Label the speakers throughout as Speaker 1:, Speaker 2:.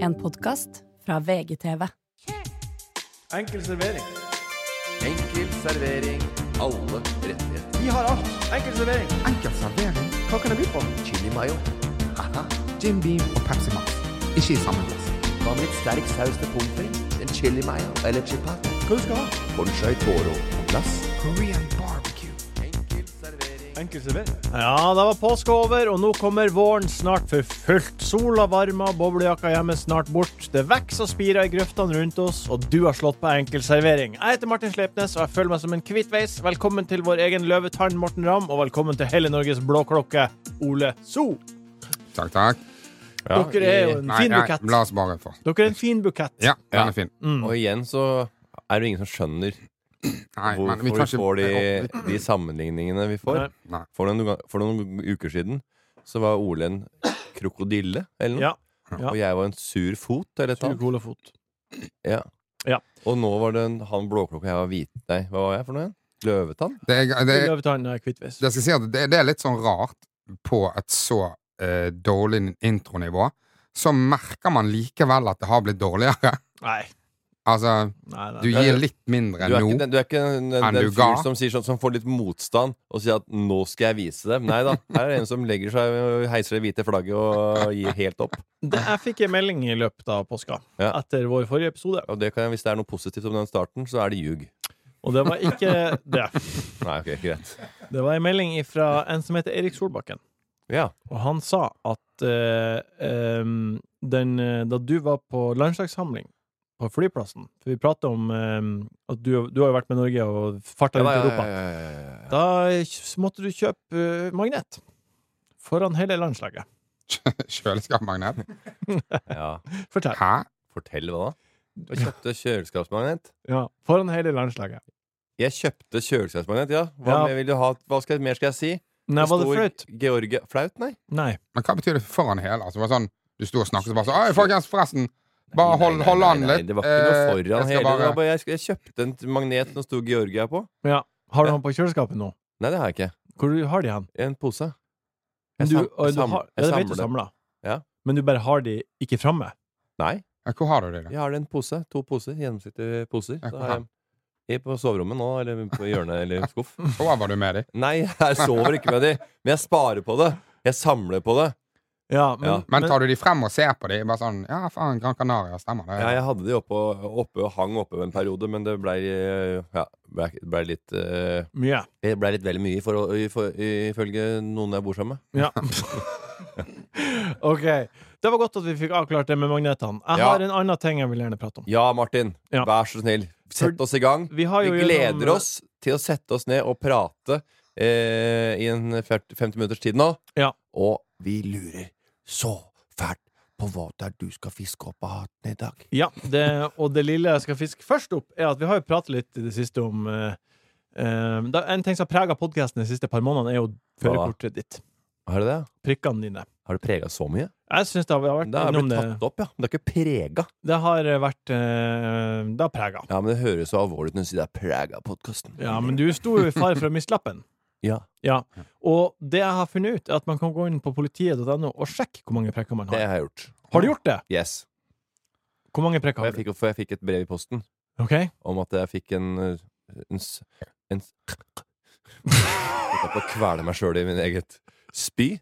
Speaker 1: En podkast fra VGTV.
Speaker 2: Enkel servering.
Speaker 3: Enkel servering. Alle rettigheter.
Speaker 2: Vi har alt. Enkel servering.
Speaker 4: Enkel servering,
Speaker 2: Hva kan jeg by på?
Speaker 3: Chili mayo. Haha.
Speaker 4: Jim Beam og Pepsi Max. Ikke i samme glass.
Speaker 3: Hva med litt sterk saus til pommes frites? En chili mayo eller chipat?
Speaker 2: Hva du skal ha?
Speaker 3: Bonchai toro på glass.
Speaker 4: Korean barbecue.
Speaker 3: Enkel servering.
Speaker 2: Enkel servering. Ja, da var påske over, og nå kommer våren snart for fullt. Sola varmer, boblejakka hjemme snart bort. Det vokser og spirer i grøftene rundt oss, og du har slått på enkel servering. Jeg heter Martin Slepnes, og jeg føler meg som en kvittveis. Velkommen til vår egen løvetann Morten Ramm, og velkommen til hele Norges blåklokke Ole So.
Speaker 4: Takk, takk.
Speaker 2: Dere er jo en
Speaker 4: Nei,
Speaker 2: fin
Speaker 4: nei,
Speaker 2: bukett. Mm.
Speaker 4: la oss bare få.
Speaker 2: Dere er en fin bukett.
Speaker 4: Ja, den
Speaker 5: Ja.
Speaker 4: er fin.
Speaker 5: Og igjen så er det ingen som skjønner
Speaker 4: Nei,
Speaker 5: hvorfor
Speaker 4: men vi
Speaker 5: vi,
Speaker 4: kan ikke
Speaker 5: får de, de sammenligningene vi får.
Speaker 2: Nei.
Speaker 4: Nei.
Speaker 5: For noen, ga- for noen uker siden så var Ole en krokodille, eller noe.
Speaker 2: Ja. ja.
Speaker 5: Og jeg var en sur fot, eller et
Speaker 2: Sur
Speaker 5: eller annet.
Speaker 2: colafot.
Speaker 5: Ja.
Speaker 2: Ja.
Speaker 5: Og nå var det en, han blåklokka, jeg var hvit Nei, hva var jeg for noe igjen? Løvetann?
Speaker 4: Det, er- det, er-
Speaker 2: Løvetann er kvittveis.
Speaker 4: det, skal jeg si at det, det er litt sånn rart på et så eh, dårlig intronivå. Så merker man likevel at det har blitt dårligere.
Speaker 2: Nei.
Speaker 4: Altså,
Speaker 2: Nei, nei.
Speaker 4: du gir litt mindre
Speaker 5: Du er
Speaker 4: nå.
Speaker 5: ikke den, du er ikke den, den,
Speaker 4: Er
Speaker 5: den
Speaker 4: du
Speaker 5: fyr
Speaker 4: gal?
Speaker 5: som, sier sånn, som får litt motstand og sier at 'nå skal jeg vise det'. Nei da. Her er det en som legger seg og heiser det hvite flagget og gir helt opp.
Speaker 2: Det, jeg fikk en melding i løpet av påska
Speaker 5: Ja.
Speaker 2: etter vår forrige episode,
Speaker 5: Og det kan, hvis det er noe positivt om den starten, så er det ljug.
Speaker 2: og det var ikke det.
Speaker 5: Nei, ok, greit.
Speaker 2: Det var en melding fra en som heter Erik Solbakken,
Speaker 5: Ja.
Speaker 2: og han sa at eh, em, den, eh, da du var på landslagssamling på flyplassen For vi prater om em, at du, du har jo vært med Norge og farta rundt i Europa. Da kj- måtte du kjøpe eh, magnet foran hele landslaget.
Speaker 4: Kjøleskapmagnet.
Speaker 5: Ja.
Speaker 2: Fortell.
Speaker 4: Hæ?
Speaker 5: Fortell hva da? Jeg kjøpte kjøleskapsmagnet.
Speaker 2: Ja, foran hele landslaget.
Speaker 5: Jeg kjøpte kjøleskapsmagnet, ja. Hva,
Speaker 2: Ja.
Speaker 5: mer vil du ha? hva skal, mer skal jeg si?
Speaker 2: Nei, var det
Speaker 5: sto
Speaker 2: flaut?
Speaker 5: Georgia Flaut, nei.
Speaker 2: Nei.
Speaker 4: Men hva betyr det foran hele? Altså, det var sånn, du sto og snakket og bare sånn «Oi, folkens, forresten! Bare
Speaker 5: Nei, nei,
Speaker 4: hold,
Speaker 5: nei,
Speaker 4: hold
Speaker 5: nei,
Speaker 4: an
Speaker 5: nei,
Speaker 4: litt.
Speaker 5: Det var ikke
Speaker 4: Eh,
Speaker 5: noe
Speaker 4: jeg
Speaker 5: foran
Speaker 4: skal
Speaker 5: hele.
Speaker 4: bare-
Speaker 5: det var Bare, jeg, jeg kjøpte en magnet som sto Georgia på.
Speaker 2: Ja. Har du han på kjøleskapet nå?
Speaker 5: Nei, det har jeg ikke.
Speaker 2: Hvor har de han?
Speaker 5: En pose.
Speaker 2: Men
Speaker 5: Jeg
Speaker 2: du,
Speaker 5: sam-
Speaker 2: og
Speaker 5: jeg
Speaker 2: du
Speaker 5: sam-
Speaker 2: har, ja,
Speaker 5: jeg
Speaker 2: det vet du
Speaker 5: samler.
Speaker 2: samler.
Speaker 5: Ja.
Speaker 2: Men du bare har de ikke framme.
Speaker 5: Nei,
Speaker 4: Ja, Hvor har du det? da?
Speaker 5: jeg har en pose. To poser. Gjennomsiktige poser.
Speaker 4: Ja,
Speaker 5: Så har jeg, jeg er på soverommet nå, eller på hjørnet, eller skuff.
Speaker 4: Hvor var du med dem?
Speaker 5: Nei, jeg sover ikke med de, men jeg sparer på det. Jeg samler på det.
Speaker 2: Ja, men,
Speaker 5: Ja.
Speaker 4: Men tar du de frem og ser på de? Bare sånn, ja, faen, Gran Canaria, stemmer det?
Speaker 5: Ja, jeg hadde de oppe, oppe og hang oppe en periode, men det blei ja, ble, ble litt eh,
Speaker 2: mye.
Speaker 5: Det blei litt vel mye i forhold- i for, ifølge noen jeg bor sammen med.
Speaker 2: Ja. OK. Det var godt at vi fikk avklart det med magnetene. Jeg
Speaker 5: Ja.
Speaker 2: har en annen ting jeg vil gjerne prate om.
Speaker 5: Ja, Martin,
Speaker 2: Ja.
Speaker 5: vær så snill. Sett
Speaker 2: For-
Speaker 5: oss i gang.
Speaker 2: Vi, har
Speaker 5: Vi
Speaker 2: jo sånn- gjennom-
Speaker 5: gleder oss til å sette oss ned og prate eh, i en 40 50 minutters tid nå.
Speaker 2: Ja.
Speaker 5: Og vi lurer så fælt på hva det er du skal fiske opp av hatten i dag.
Speaker 2: Ja, det, og det lille jeg skal fiske først opp, er at vi har jo pratet litt i det siste om eh, eh, da- En ting som har prega podkasten de siste par månedene, er jo
Speaker 5: Hva
Speaker 2: førerkortet ditt.
Speaker 5: Har du det?
Speaker 2: Prikkene dine.
Speaker 5: Har det prega så mye?
Speaker 2: Jeg syns det har vært
Speaker 5: Det har
Speaker 2: innom
Speaker 5: blitt
Speaker 2: det.
Speaker 5: tatt opp, ja. Men det er ikke prega.
Speaker 2: Det har vært eh, Det har prega.
Speaker 5: Ja, men det høres så alvorlig ut når du sier det er prega podkasten.
Speaker 2: Ja, men du sto jo i fare for å miste lappen.
Speaker 5: Ja.
Speaker 2: Ja. Og det jeg har funnet ut, er at man kan gå inn på politiet.no og sjekke hvor mange prekker man
Speaker 5: Det
Speaker 2: har.
Speaker 5: har jeg gjort.
Speaker 2: Har du gjort det?
Speaker 5: Yes.
Speaker 2: Hvor mange
Speaker 5: Og
Speaker 2: prekker
Speaker 5: jeg
Speaker 2: har du?
Speaker 5: fikk, for jeg fikk et brev i posten
Speaker 2: Ok?
Speaker 5: om at jeg fikk en eh, En, s- en s- Jeg på å kvele meg sjøl i min eget spy.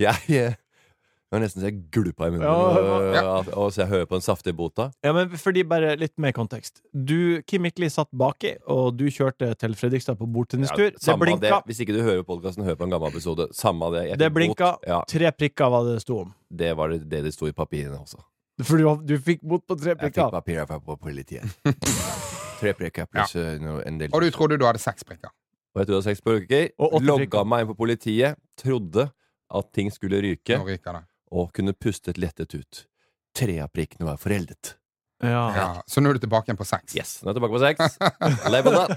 Speaker 5: Jeg, eh, det var nesten så jeg glupa i munnen
Speaker 2: Ja,
Speaker 5: og,
Speaker 4: ja.
Speaker 5: og så jeg hører på den saftige bota.
Speaker 2: Ja, men fordi bare litt mer kontekst. Du, Kim Mikli satt baki, og du kjørte til Fredrikstad på bordtennistur. det
Speaker 5: samme det.
Speaker 2: blinka.
Speaker 5: Hvis ikke du hører podkasten, hør på en gammel episode. Samme det. Jeg
Speaker 2: Det
Speaker 5: fikk
Speaker 2: blinka.
Speaker 5: bot. Ja,
Speaker 2: Tre prikker var det det sto om.
Speaker 5: det var det, det det sto i papirene også.
Speaker 2: For du, du fikk bot på tre
Speaker 5: Jeg fikk
Speaker 2: prikker.
Speaker 5: papirer fra på politiet. Tre prikker pluss eh, no- en del
Speaker 4: Og du trodde du hadde seks prikker.
Speaker 5: Og jeg trodde seks bruker.
Speaker 2: Og åtte
Speaker 5: Logga
Speaker 2: prikker.
Speaker 5: meg inn på politiet. Trodde at ting skulle ryke,
Speaker 4: Nå ryker det.
Speaker 5: og kunne pustet lettet ut. Tre av prikkene var foreldet.
Speaker 2: Ja.
Speaker 4: Ja. Så nå er du tilbake igjen på seks.
Speaker 5: Yes, nå er jeg tilbake på seks. Level up!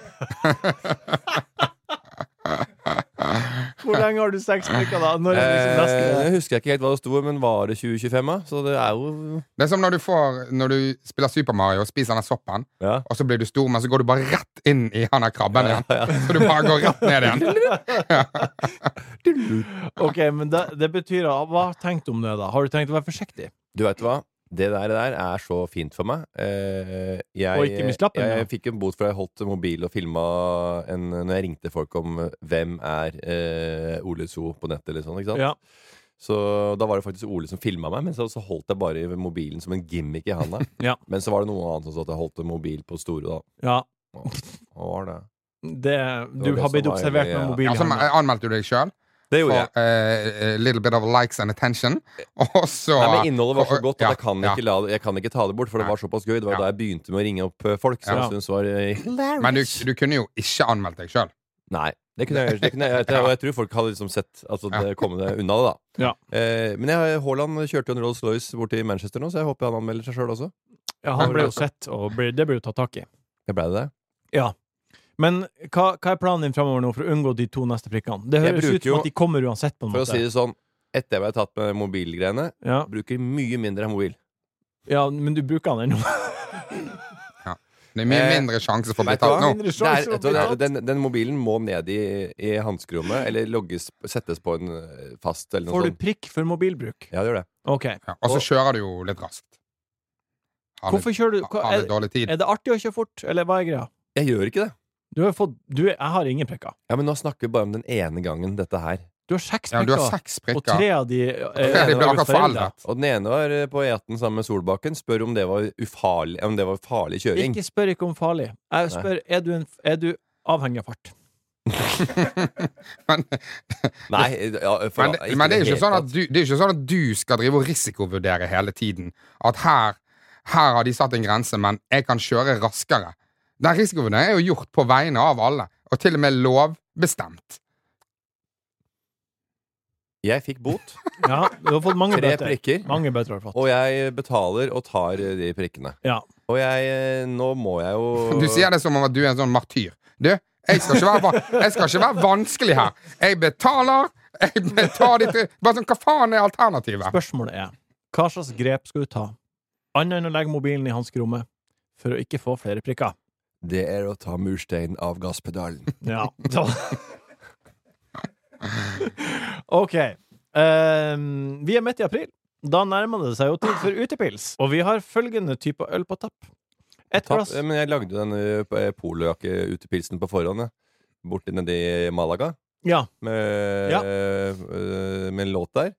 Speaker 2: Hvor lenge har du seks prikker, da? Når er det liksom
Speaker 5: Eh,
Speaker 2: nesten
Speaker 5: jeg husker ikke helt hva det sto, men var det 2025? da? Så det er jo
Speaker 4: Det er som når du, får, når du spiller Super Mario og spiser den soppen,
Speaker 5: Ja.
Speaker 4: og så blir du stor, men så går du bare rett inn i han der krabben igjen. Så du bare går rett ned igjen.
Speaker 5: Eh,
Speaker 2: OK, men det, det betyr Hva har du tenkt om det, da? Har du tenkt å være forsiktig?
Speaker 5: Du veit hva? Det der, der er så fint for meg. Eh, jeg,
Speaker 2: Og ikke mist lappen,
Speaker 5: Jeg,
Speaker 2: ja.
Speaker 5: fikk en bot for jeg holdt mobil og filma en Når jeg ringte folk om eh, hvem er eh, Ole So på nettet, eller sånn. Ikke sant?
Speaker 2: Ja.
Speaker 5: Så da var det faktisk Ole som filma meg, men så, så holdt jeg bare i mobilen som en gimmick i handa.
Speaker 2: Ja.
Speaker 5: Men så var det noe annet som sa at jeg holdt en mobil på store, da.
Speaker 2: ja.
Speaker 5: Hva var det?
Speaker 2: Det, du
Speaker 5: det
Speaker 2: har blitt
Speaker 5: som var
Speaker 2: observert
Speaker 5: hele-
Speaker 2: med mobil.
Speaker 4: Ja,
Speaker 2: i
Speaker 4: så
Speaker 2: hånda.
Speaker 4: anmeldte du deg sjøl
Speaker 5: Det
Speaker 4: for
Speaker 5: gjorde jeg.
Speaker 4: eh, a little bit of likes and attention. Og så
Speaker 5: Nei, men Innholdet var så godt
Speaker 4: Ja,
Speaker 5: at jeg kan
Speaker 4: ja.
Speaker 5: ikke, la, det- jeg kan ikke ta det bort, for det
Speaker 4: Nei.
Speaker 5: var såpass gøy. Det var jo
Speaker 4: Ja.
Speaker 5: da jeg begynte med å ringe opp eh, folk, som
Speaker 2: Ja.
Speaker 5: jeg syntes var eh,
Speaker 4: Men du, du kunne jo ikke anmeldt deg sjøl.
Speaker 5: Nei. Det kunne jeg, det kunne jeg, og jeg tror folk hadde liksom sett altså, det komme det unna det, da. Eh, men jeg, Haaland kjørte jo en Rolls Royce bort til Manchester nå, så jeg håper han anmelder seg sjøl også.
Speaker 2: Ja, han ble jo sett, og ble, det ble jo tatt tak i.
Speaker 5: Jeg ble det det.
Speaker 2: Men hva, hva er planen din framover nå for å unngå de to neste prikkene? Det
Speaker 5: Jeg
Speaker 2: høres ut
Speaker 5: bruker jo-
Speaker 2: som at de kommer uansett, på en
Speaker 5: For å
Speaker 2: måte.
Speaker 5: si det sånn, etter jeg ble tatt med mobilgreiene,
Speaker 2: Ja.
Speaker 5: bruker mye mindre mobil.
Speaker 2: ja, men du bruker den ennå.
Speaker 4: Det er mye
Speaker 5: Eh,
Speaker 4: mindre sjanse for å bli
Speaker 5: vet du
Speaker 4: tatt
Speaker 5: hva?
Speaker 4: nå.
Speaker 2: Mindre
Speaker 5: Det er,
Speaker 2: sjanse for å
Speaker 5: vet du,
Speaker 2: bli
Speaker 5: hva,
Speaker 2: tatt.
Speaker 5: den, den mobilen må ned i, i hanskerommet, eller logges, settes på en eh, fast, eller noe
Speaker 2: Får du
Speaker 5: sånt.
Speaker 2: prikk for mobilbruk?
Speaker 5: Ja, det gjør det.
Speaker 2: OK.
Speaker 4: Ja, og så
Speaker 5: Og-
Speaker 4: kjører du jo litt raskt. Har litt,
Speaker 2: Hvorfor kjører du hva,
Speaker 4: har litt
Speaker 2: er,
Speaker 4: dårlig tid.
Speaker 2: er det artig å kjøre fort, eller hva er greia?
Speaker 5: Jeg gjør ikke det.
Speaker 2: Du har fått du, Jeg har ingen prikker.
Speaker 5: Ja, men nå snakker vi bare om den ene gangen dette her.
Speaker 2: Du har seks
Speaker 4: Ja, du har
Speaker 2: prikker,
Speaker 4: seks
Speaker 2: og
Speaker 4: prikker.
Speaker 2: tre av de eh,
Speaker 5: Ja, de ble
Speaker 2: er
Speaker 4: akkurat
Speaker 2: foreldre.
Speaker 4: foreldet.
Speaker 5: Og den ene var eh, på E18 sammen med Solbakken. Spør om det var, ufarlig, om det var farlig kjøring.
Speaker 2: Ikke spør ikke om farlig. Jeg spør er du, en, er du avhengig av fart.
Speaker 4: Men,
Speaker 5: Nei, eh, ja, for,
Speaker 4: men, men det er jo
Speaker 5: helt
Speaker 4: ikke sånn
Speaker 5: tatt.
Speaker 4: at du, det er jo ikke sånn at du skal drive og risikovurdere hele tiden. At her, her har de satt en grense, men jeg kan kjøre raskere. Den risikovurderingen er jo gjort på vegne av alle, og til og med lovbestemt.
Speaker 5: Jeg fikk bot.
Speaker 2: Ja, du har fått mange
Speaker 5: Tre
Speaker 2: bøter.
Speaker 5: prikker.
Speaker 2: Mange bøter har du fått.
Speaker 5: Og jeg betaler og tar eh, de prikkene.
Speaker 2: Ja.
Speaker 5: Og jeg eh, Nå må jeg jo
Speaker 4: Du sier det som om at du er en sånn martyr. Du, jeg skal ikke være, va- jeg skal ikke være vanskelig her. Jeg betaler. Jeg betaler de tre Bare sånn, Hva faen er alternativet?
Speaker 2: Spørsmålet er hva slags grep skal du ta, annet enn å legge mobilen i hanskerommet, for å ikke få flere prikker?
Speaker 5: Det er å ta murstein av gasspedalen.
Speaker 2: Ja. Så. OK. Ehm, vi er midt i april. Da nærmer det seg jo tid for utepils, og vi har følgende type øl på tapp. Et
Speaker 5: Tapp,
Speaker 2: glass
Speaker 5: eh, men jeg lagde den eh, polojakke-utepilsen på forhånd, jeg. borti nedi Malaga,
Speaker 2: Ja.
Speaker 5: med,
Speaker 2: Ja.
Speaker 5: eh, med en låt der.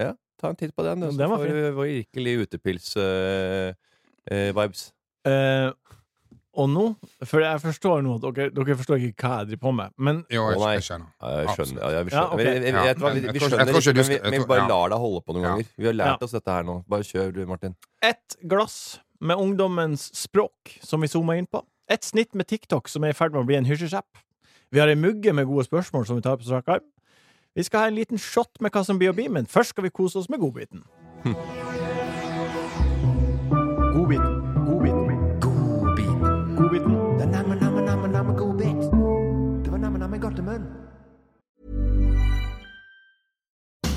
Speaker 5: Ja, ta en titt på den, du.
Speaker 2: Den
Speaker 5: så
Speaker 2: var
Speaker 5: får
Speaker 2: fin.
Speaker 5: du virkelig eh, utepils-vibes.
Speaker 2: Eh, og nå For jeg forstår nå at dere, dere forstår ikke hva jeg driver på med, men
Speaker 4: Jo,
Speaker 5: Å,
Speaker 4: jeg,
Speaker 5: nei.
Speaker 4: jeg skjønner.
Speaker 5: Ja, jeg skjønner. Ja, jeg
Speaker 2: Ja, ok.
Speaker 5: skjønner. Men jeg- jeg-
Speaker 4: Ja.
Speaker 5: jeg vet hva, vi-
Speaker 4: Jeg
Speaker 5: Vi
Speaker 4: tror- jeg
Speaker 5: skjønner
Speaker 4: tror ikke
Speaker 5: ikke,
Speaker 4: du
Speaker 5: men vi,
Speaker 4: skal- jeg
Speaker 5: men vi
Speaker 4: tror-
Speaker 5: bare
Speaker 4: ja.
Speaker 5: lar deg holde på noen
Speaker 4: Ja.
Speaker 5: ganger. Vi har lært
Speaker 2: Ja.
Speaker 5: oss dette her nå. Bare kjør, du, Martin.
Speaker 2: Et glass med ungdommens språk, som vi zoomer inn på. Et snitt med TikTok, som er i ferd med å bli en hysjesjapp. Vi har ei mugge med gode spørsmål som vi tar på strak arm. Vi skal ha en liten shot med hva som blir å bli, men først skal vi kose oss med godbiten. Godbiten. Godbiten.
Speaker 3: Godbit.
Speaker 2: Godbiten.
Speaker 3: Det er namme, namme, namme, namme godbit. Det var namme, namme godtemunn.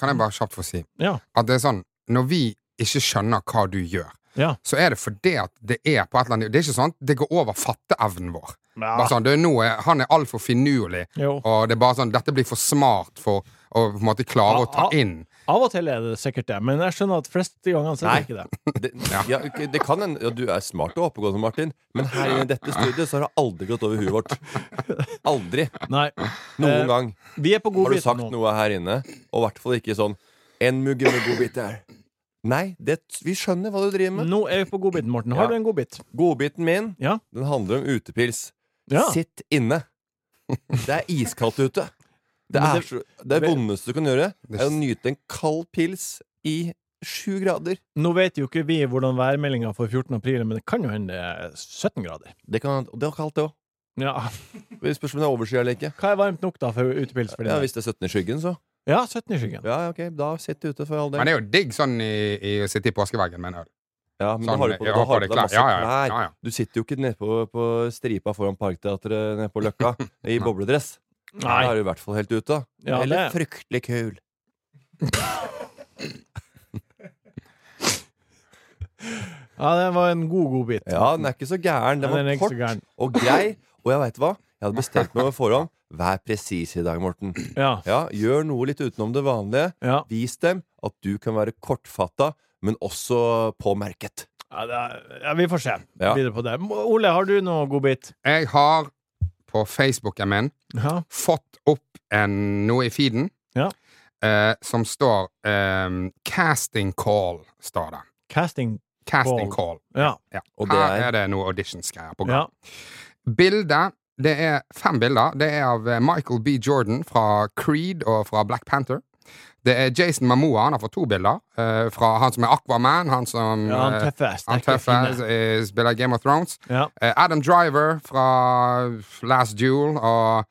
Speaker 4: Kan jeg bare kjapt få si
Speaker 2: Ja.
Speaker 4: at det er sånn Når vi ikke skjønner hva du gjør,
Speaker 2: Ja.
Speaker 4: så er det fordi at det er på et eller annet Det er ikke sånn at det går over fatteevnen vår. Bare sånn, det er noe, Han er altfor finurlig,
Speaker 2: Jo.
Speaker 4: og det er bare sånn Dette blir for smart for å på en måte klare å
Speaker 2: Ah,
Speaker 4: ta
Speaker 2: ah.
Speaker 4: inn.
Speaker 2: Av og til er det sikkert det, men jeg skjønner at fleste ganger så er det ikke det.
Speaker 5: Det, ja, ok, det kan en, ja, du er smart og oppegående, Martin, men her inne i dette studioet så har det aldri gått over huet vårt. Aldri.
Speaker 2: Nei.
Speaker 5: Noen
Speaker 2: Eh,
Speaker 5: gang.
Speaker 2: Vi er på
Speaker 5: Har du
Speaker 2: godbiten
Speaker 5: sagt
Speaker 2: nå.
Speaker 5: noe her inne, og i hvert fall ikke sånn En mugge med godbit der. Nei, det, vi skjønner hva du driver med.
Speaker 2: Nå er vi på godbiten, Morten.
Speaker 5: Ja.
Speaker 2: Har du en godbit?
Speaker 5: Godbiten min,
Speaker 2: Ja.
Speaker 5: den handler om utepils.
Speaker 2: Ja.
Speaker 5: Sitt inne. Det er iskaldt ute. Det,
Speaker 2: Men
Speaker 5: er
Speaker 2: det-
Speaker 5: så, det er vondeste du kan gjøre,
Speaker 4: Det-
Speaker 5: er å nyte en kald pils i sju grader.
Speaker 2: Nå vet jo ikke vi hvordan værmeldinga for 14. april, men det kan jo hende det er 17 grader.
Speaker 5: Det, kan, og det er kaldt, det òg.
Speaker 2: Ja.
Speaker 5: Spørs om det er overskyet eller ikke.
Speaker 2: Hva er varmt nok, da, for utepils? for din
Speaker 5: Ja,
Speaker 2: del?
Speaker 5: hvis det er 17 i skyggen, så.
Speaker 2: Ja, 17 i skyggen.
Speaker 5: Ja, ok, da sitt ute for all del.
Speaker 4: Men det er jo digg sånn i, i, å sitte i påskeveggen med en øl.
Speaker 5: Ja, men da
Speaker 4: Sånn,
Speaker 5: har du på,
Speaker 4: jeg
Speaker 5: da
Speaker 4: har på
Speaker 5: har
Speaker 4: det
Speaker 5: du deg
Speaker 4: klær.
Speaker 5: masse
Speaker 4: Ja, ja, ja.
Speaker 5: klær.
Speaker 4: Ja, ja.
Speaker 5: Du sitter jo ikke nede på, på stripa foran Parkteatret nede på Løkka i bobledress. Da
Speaker 2: Nei.
Speaker 5: er du i hvert fall helt ute. da.
Speaker 2: Ja,
Speaker 5: Eller
Speaker 2: det-
Speaker 5: fryktelig kul.
Speaker 2: Ja, det var en god godbit.
Speaker 5: Ja, den er ikke så gæren. Den
Speaker 2: Den er
Speaker 5: var
Speaker 2: ikke så
Speaker 5: kort
Speaker 2: gæren.
Speaker 5: og grei. Og jeg veit hva? Jeg hadde bestemt meg på forhånd. Vær presis i dag, Morten.
Speaker 2: Ja.
Speaker 5: Ja, Gjør noe litt utenom det vanlige.
Speaker 2: ja.
Speaker 5: Vis dem at du kan være kortfatta, men også på merket.
Speaker 2: ja, det er, ja vi får se
Speaker 5: Ja.
Speaker 2: videre på det. Ole, har du noe godbit?
Speaker 4: Jeg har på Facebooken min
Speaker 2: Ja.
Speaker 4: fått opp en, noe i feeden
Speaker 2: Ja.
Speaker 4: eh, som står eh, Casting call, står det.
Speaker 2: Casting.
Speaker 4: Casting
Speaker 2: Call.
Speaker 4: call.
Speaker 2: Ja.
Speaker 4: Ja.
Speaker 5: Og det
Speaker 4: Her
Speaker 5: er-
Speaker 4: er det noe auditions-greier på
Speaker 2: ja.
Speaker 4: gang. Bildet Det er fem bilder. Det er av eh, Michael B. Jordan fra Creed og fra Black Panther. Det er Jason Mamoa. Han har fått to bilder. eh, fra han som er Aquaman, han som
Speaker 2: Ja, han
Speaker 4: eh,
Speaker 2: tøffe, sterke,
Speaker 4: han tøffe
Speaker 2: fine.
Speaker 4: eh, spiller Game of Thrones.
Speaker 2: Ja.
Speaker 4: Eh, Adam Driver fra Last Duel og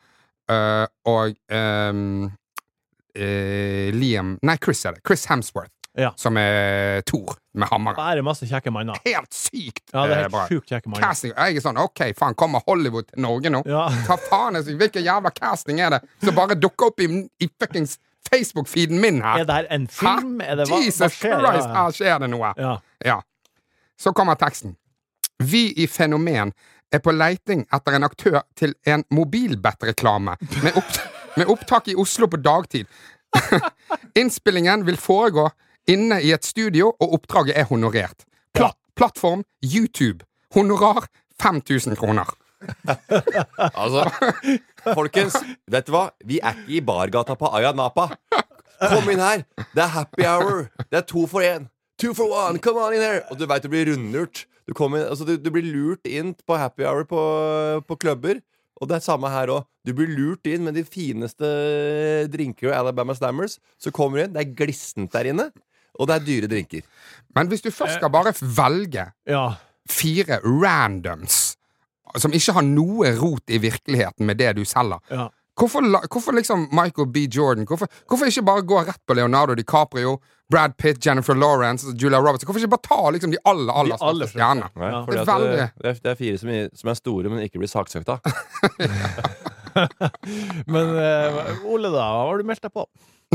Speaker 4: eh, Og ehm, eh, Liam Nei, Chris er det. Chris Hemsworth,
Speaker 2: Ja.
Speaker 4: som er Thor med hammeren.
Speaker 2: Bare masse kjekke manner.
Speaker 4: Helt sykt
Speaker 2: Ja, det er
Speaker 4: eh, bra.
Speaker 2: helt sjukt kjekke manner.
Speaker 4: Casting. Jeg er sånn, ok, faen, kommer Hollywood til Norge nå?
Speaker 2: Ja.
Speaker 4: Hva faen er det? Hvilken jævla casting er det som bare dukker opp i, i fuckings Facebook-feeden min her?
Speaker 2: Er det her en film? Er det, hva, hva
Speaker 4: Jesus
Speaker 2: skjer?
Speaker 4: Christ,
Speaker 2: Ja,
Speaker 4: her skjer det noe.
Speaker 2: ja.
Speaker 4: Ja. Så kommer teksten. Vi i Fenomen er på leiting etter en aktør til en mobilbettreklame med, opp med opptak i Oslo på dagtid. Innspillingen vil foregå inne i et studio, og oppdraget er honorert. Pla plattform YouTube. Honorar 5000 kroner.
Speaker 5: Altså, folkens, vet du hva? Vi er ikke i bargata på Aya Napa. Kom inn her! Det er happy hour. Det er to for én. Two for one. Come on in here! Og du veit du blir rundlurt. Du, kom inn, altså, du, du blir lurt inn på happy hour på, på klubber. Og det er samme her òg. Du blir lurt inn med de fineste drinker og Alabama Slammers. Så kommer du inn, det er glissent der inne, og det er dyre drinker.
Speaker 4: Men hvis du først skal bare velge
Speaker 2: ja.
Speaker 4: fire randoms som ikke har noe rot i virkeligheten med det du selger,
Speaker 2: ja.
Speaker 4: Hvorfor, la- hvorfor liksom Michael B. Jordan? Hvorfor, hvorfor ikke bare gå rett på Leonardo DiCaprio, Brad Pitt, Jennifer Lawrence, Julia Roberts? Hvorfor ikke bare ta liksom de aller, aller
Speaker 2: De aller
Speaker 4: største stjernene?
Speaker 2: Ja.
Speaker 5: fordi
Speaker 4: Det er
Speaker 5: at det,
Speaker 4: veldig-
Speaker 5: det, er, det er fire som, i- som er store, men ikke blir saksøkt av.
Speaker 2: Men eh, Ole, da, hva har du meldt deg på?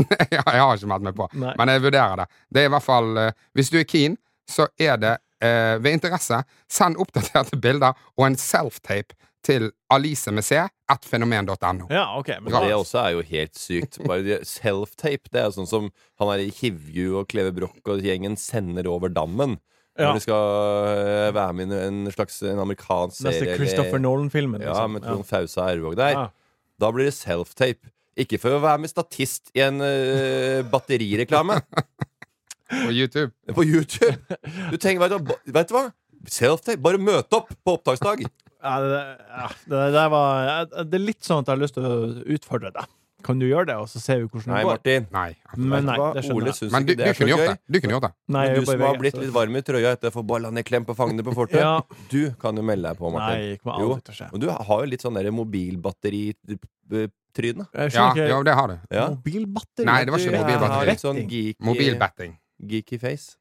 Speaker 5: eh,
Speaker 4: ja, jeg har ikke meldt meg på,
Speaker 2: Nei.
Speaker 4: men jeg vurderer det. Det er i hvert fall eh, Hvis du er keen, så er det eh, ved interesse. Send oppdaterte bilder og en self-tape til Alice med C, attfenomen.no.
Speaker 2: Ja, OK. Men
Speaker 5: Men
Speaker 2: da,
Speaker 5: det også er jo helt sykt. Bare de- Self-tape. Det er jo sånn som han er i Hivju og Kleve Broch og gjengen sender over dammen.
Speaker 2: Ja.
Speaker 5: Når de skal øh, være med i en slags en amerikansk serie.
Speaker 2: neste
Speaker 5: eller-
Speaker 2: Christopher Nolan-filmen. liksom.
Speaker 5: Ja, med Trond Fausa Ervåg der.
Speaker 2: Ja.
Speaker 5: Da blir det self-tape. Ikke for å være med statist i en øh, batterireklame
Speaker 4: På YouTube.
Speaker 5: på YouTube. Du tenker, vet du, hva, ba- vet du hva? Self-tape. Bare møt opp på opptaksdag.
Speaker 2: Ja, det, ja, det der var ja, Det er litt sånn at jeg har lyst til å utfordre deg. Kan du gjøre det, og så ser vi hvordan
Speaker 5: Nei,
Speaker 2: det går?
Speaker 5: Martin.
Speaker 4: Nei.
Speaker 2: Men nei,
Speaker 5: Hva?
Speaker 2: det
Speaker 5: Ole
Speaker 2: skjønner jeg.
Speaker 5: syns
Speaker 4: Men du,
Speaker 5: ikke
Speaker 4: du
Speaker 5: det er så
Speaker 4: kunne gjort
Speaker 5: gøy.
Speaker 4: det. Du kunne gjort det.
Speaker 2: Nei, jeg
Speaker 5: Men du
Speaker 2: jobber i
Speaker 5: som har
Speaker 2: VG,
Speaker 5: blitt
Speaker 2: så-
Speaker 5: litt varm i trøya etter å få ballene i klem på fangene på fortet,
Speaker 2: Ja.
Speaker 5: du kan jo melde deg på, Martin.
Speaker 2: Nei, det kommer
Speaker 5: Jo,
Speaker 2: aldri til å skje.
Speaker 5: Men du har jo litt sånn der mobilbatteritryne.
Speaker 2: Jeg
Speaker 4: Ja,
Speaker 2: skjønner
Speaker 4: ja,
Speaker 2: ikke
Speaker 4: det har du.
Speaker 5: Ja.
Speaker 2: Mobilbatteri?
Speaker 4: Nei, det var ikke
Speaker 2: Ja,
Speaker 4: mobilbatteri.
Speaker 5: har litt sånn
Speaker 2: retting.
Speaker 5: geeky,
Speaker 4: Mobilbetting.
Speaker 5: geeky face.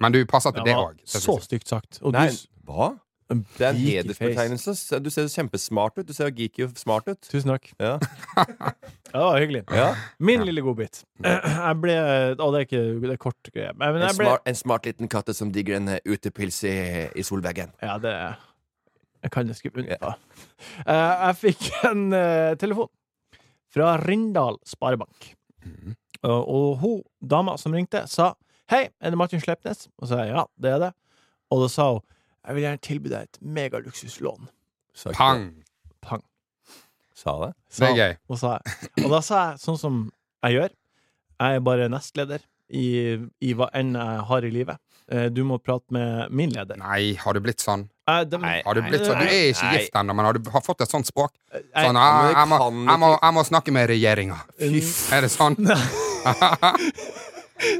Speaker 4: Men du passer til
Speaker 2: Det
Speaker 4: det
Speaker 2: var
Speaker 4: òg.
Speaker 2: så stygt sagt. Og du
Speaker 5: Nei,
Speaker 2: s-
Speaker 5: hva?
Speaker 2: en
Speaker 5: Det er en
Speaker 2: geeky face.
Speaker 5: hedersbetegnelse. Se, Du ser jo kjempesmart ut. Du ser jo geeky og smart ut.
Speaker 2: Tusen takk.
Speaker 5: Ja.
Speaker 2: Ja, Det var hyggelig.
Speaker 5: ja.
Speaker 2: Min lille godbit. Jeg ble Å, det er ikke det er kort greie. Men
Speaker 5: En,
Speaker 2: jeg ble
Speaker 5: smart, en smart liten katte som digger en eh, utepils i, i solveggen.
Speaker 2: Ja, det Jeg kan det skrive under på. Eh, Jeg fikk en eh, telefon fra Rindal Sparebank.
Speaker 4: Mm.
Speaker 2: Eh, Og hun dama som ringte, sa 'Hei, er det Martin Slepnes?' Og så sa jeg 'Ja, det er det'. Og da sa hun 'Jeg vil gjerne tilby deg et megaluksuslån'.
Speaker 5: Sa ikke
Speaker 4: Pang!
Speaker 2: Pang.
Speaker 5: det. Sa det?
Speaker 2: sa han.
Speaker 4: Det er gøy.
Speaker 2: Og, sa jeg. og da sa jeg sånn som jeg gjør. Jeg er bare nestleder i, i hva enn jeg har i livet. Eh, Du må prate med min leder.
Speaker 4: Nei, har du blitt sånn?
Speaker 2: Jeg, dem- Eh,
Speaker 5: Nei,
Speaker 4: Har du blitt sånn? Du er ikke gift ennå, men har du har fått et sånt språk?
Speaker 2: Nei,
Speaker 4: Sånn,
Speaker 5: men
Speaker 4: jeg,
Speaker 5: det
Speaker 4: jeg, må,
Speaker 5: kan
Speaker 4: jeg, må,
Speaker 5: ikke-
Speaker 4: sånn? jeg må snakke med regjeringa.
Speaker 2: Fy
Speaker 4: Er det sånn?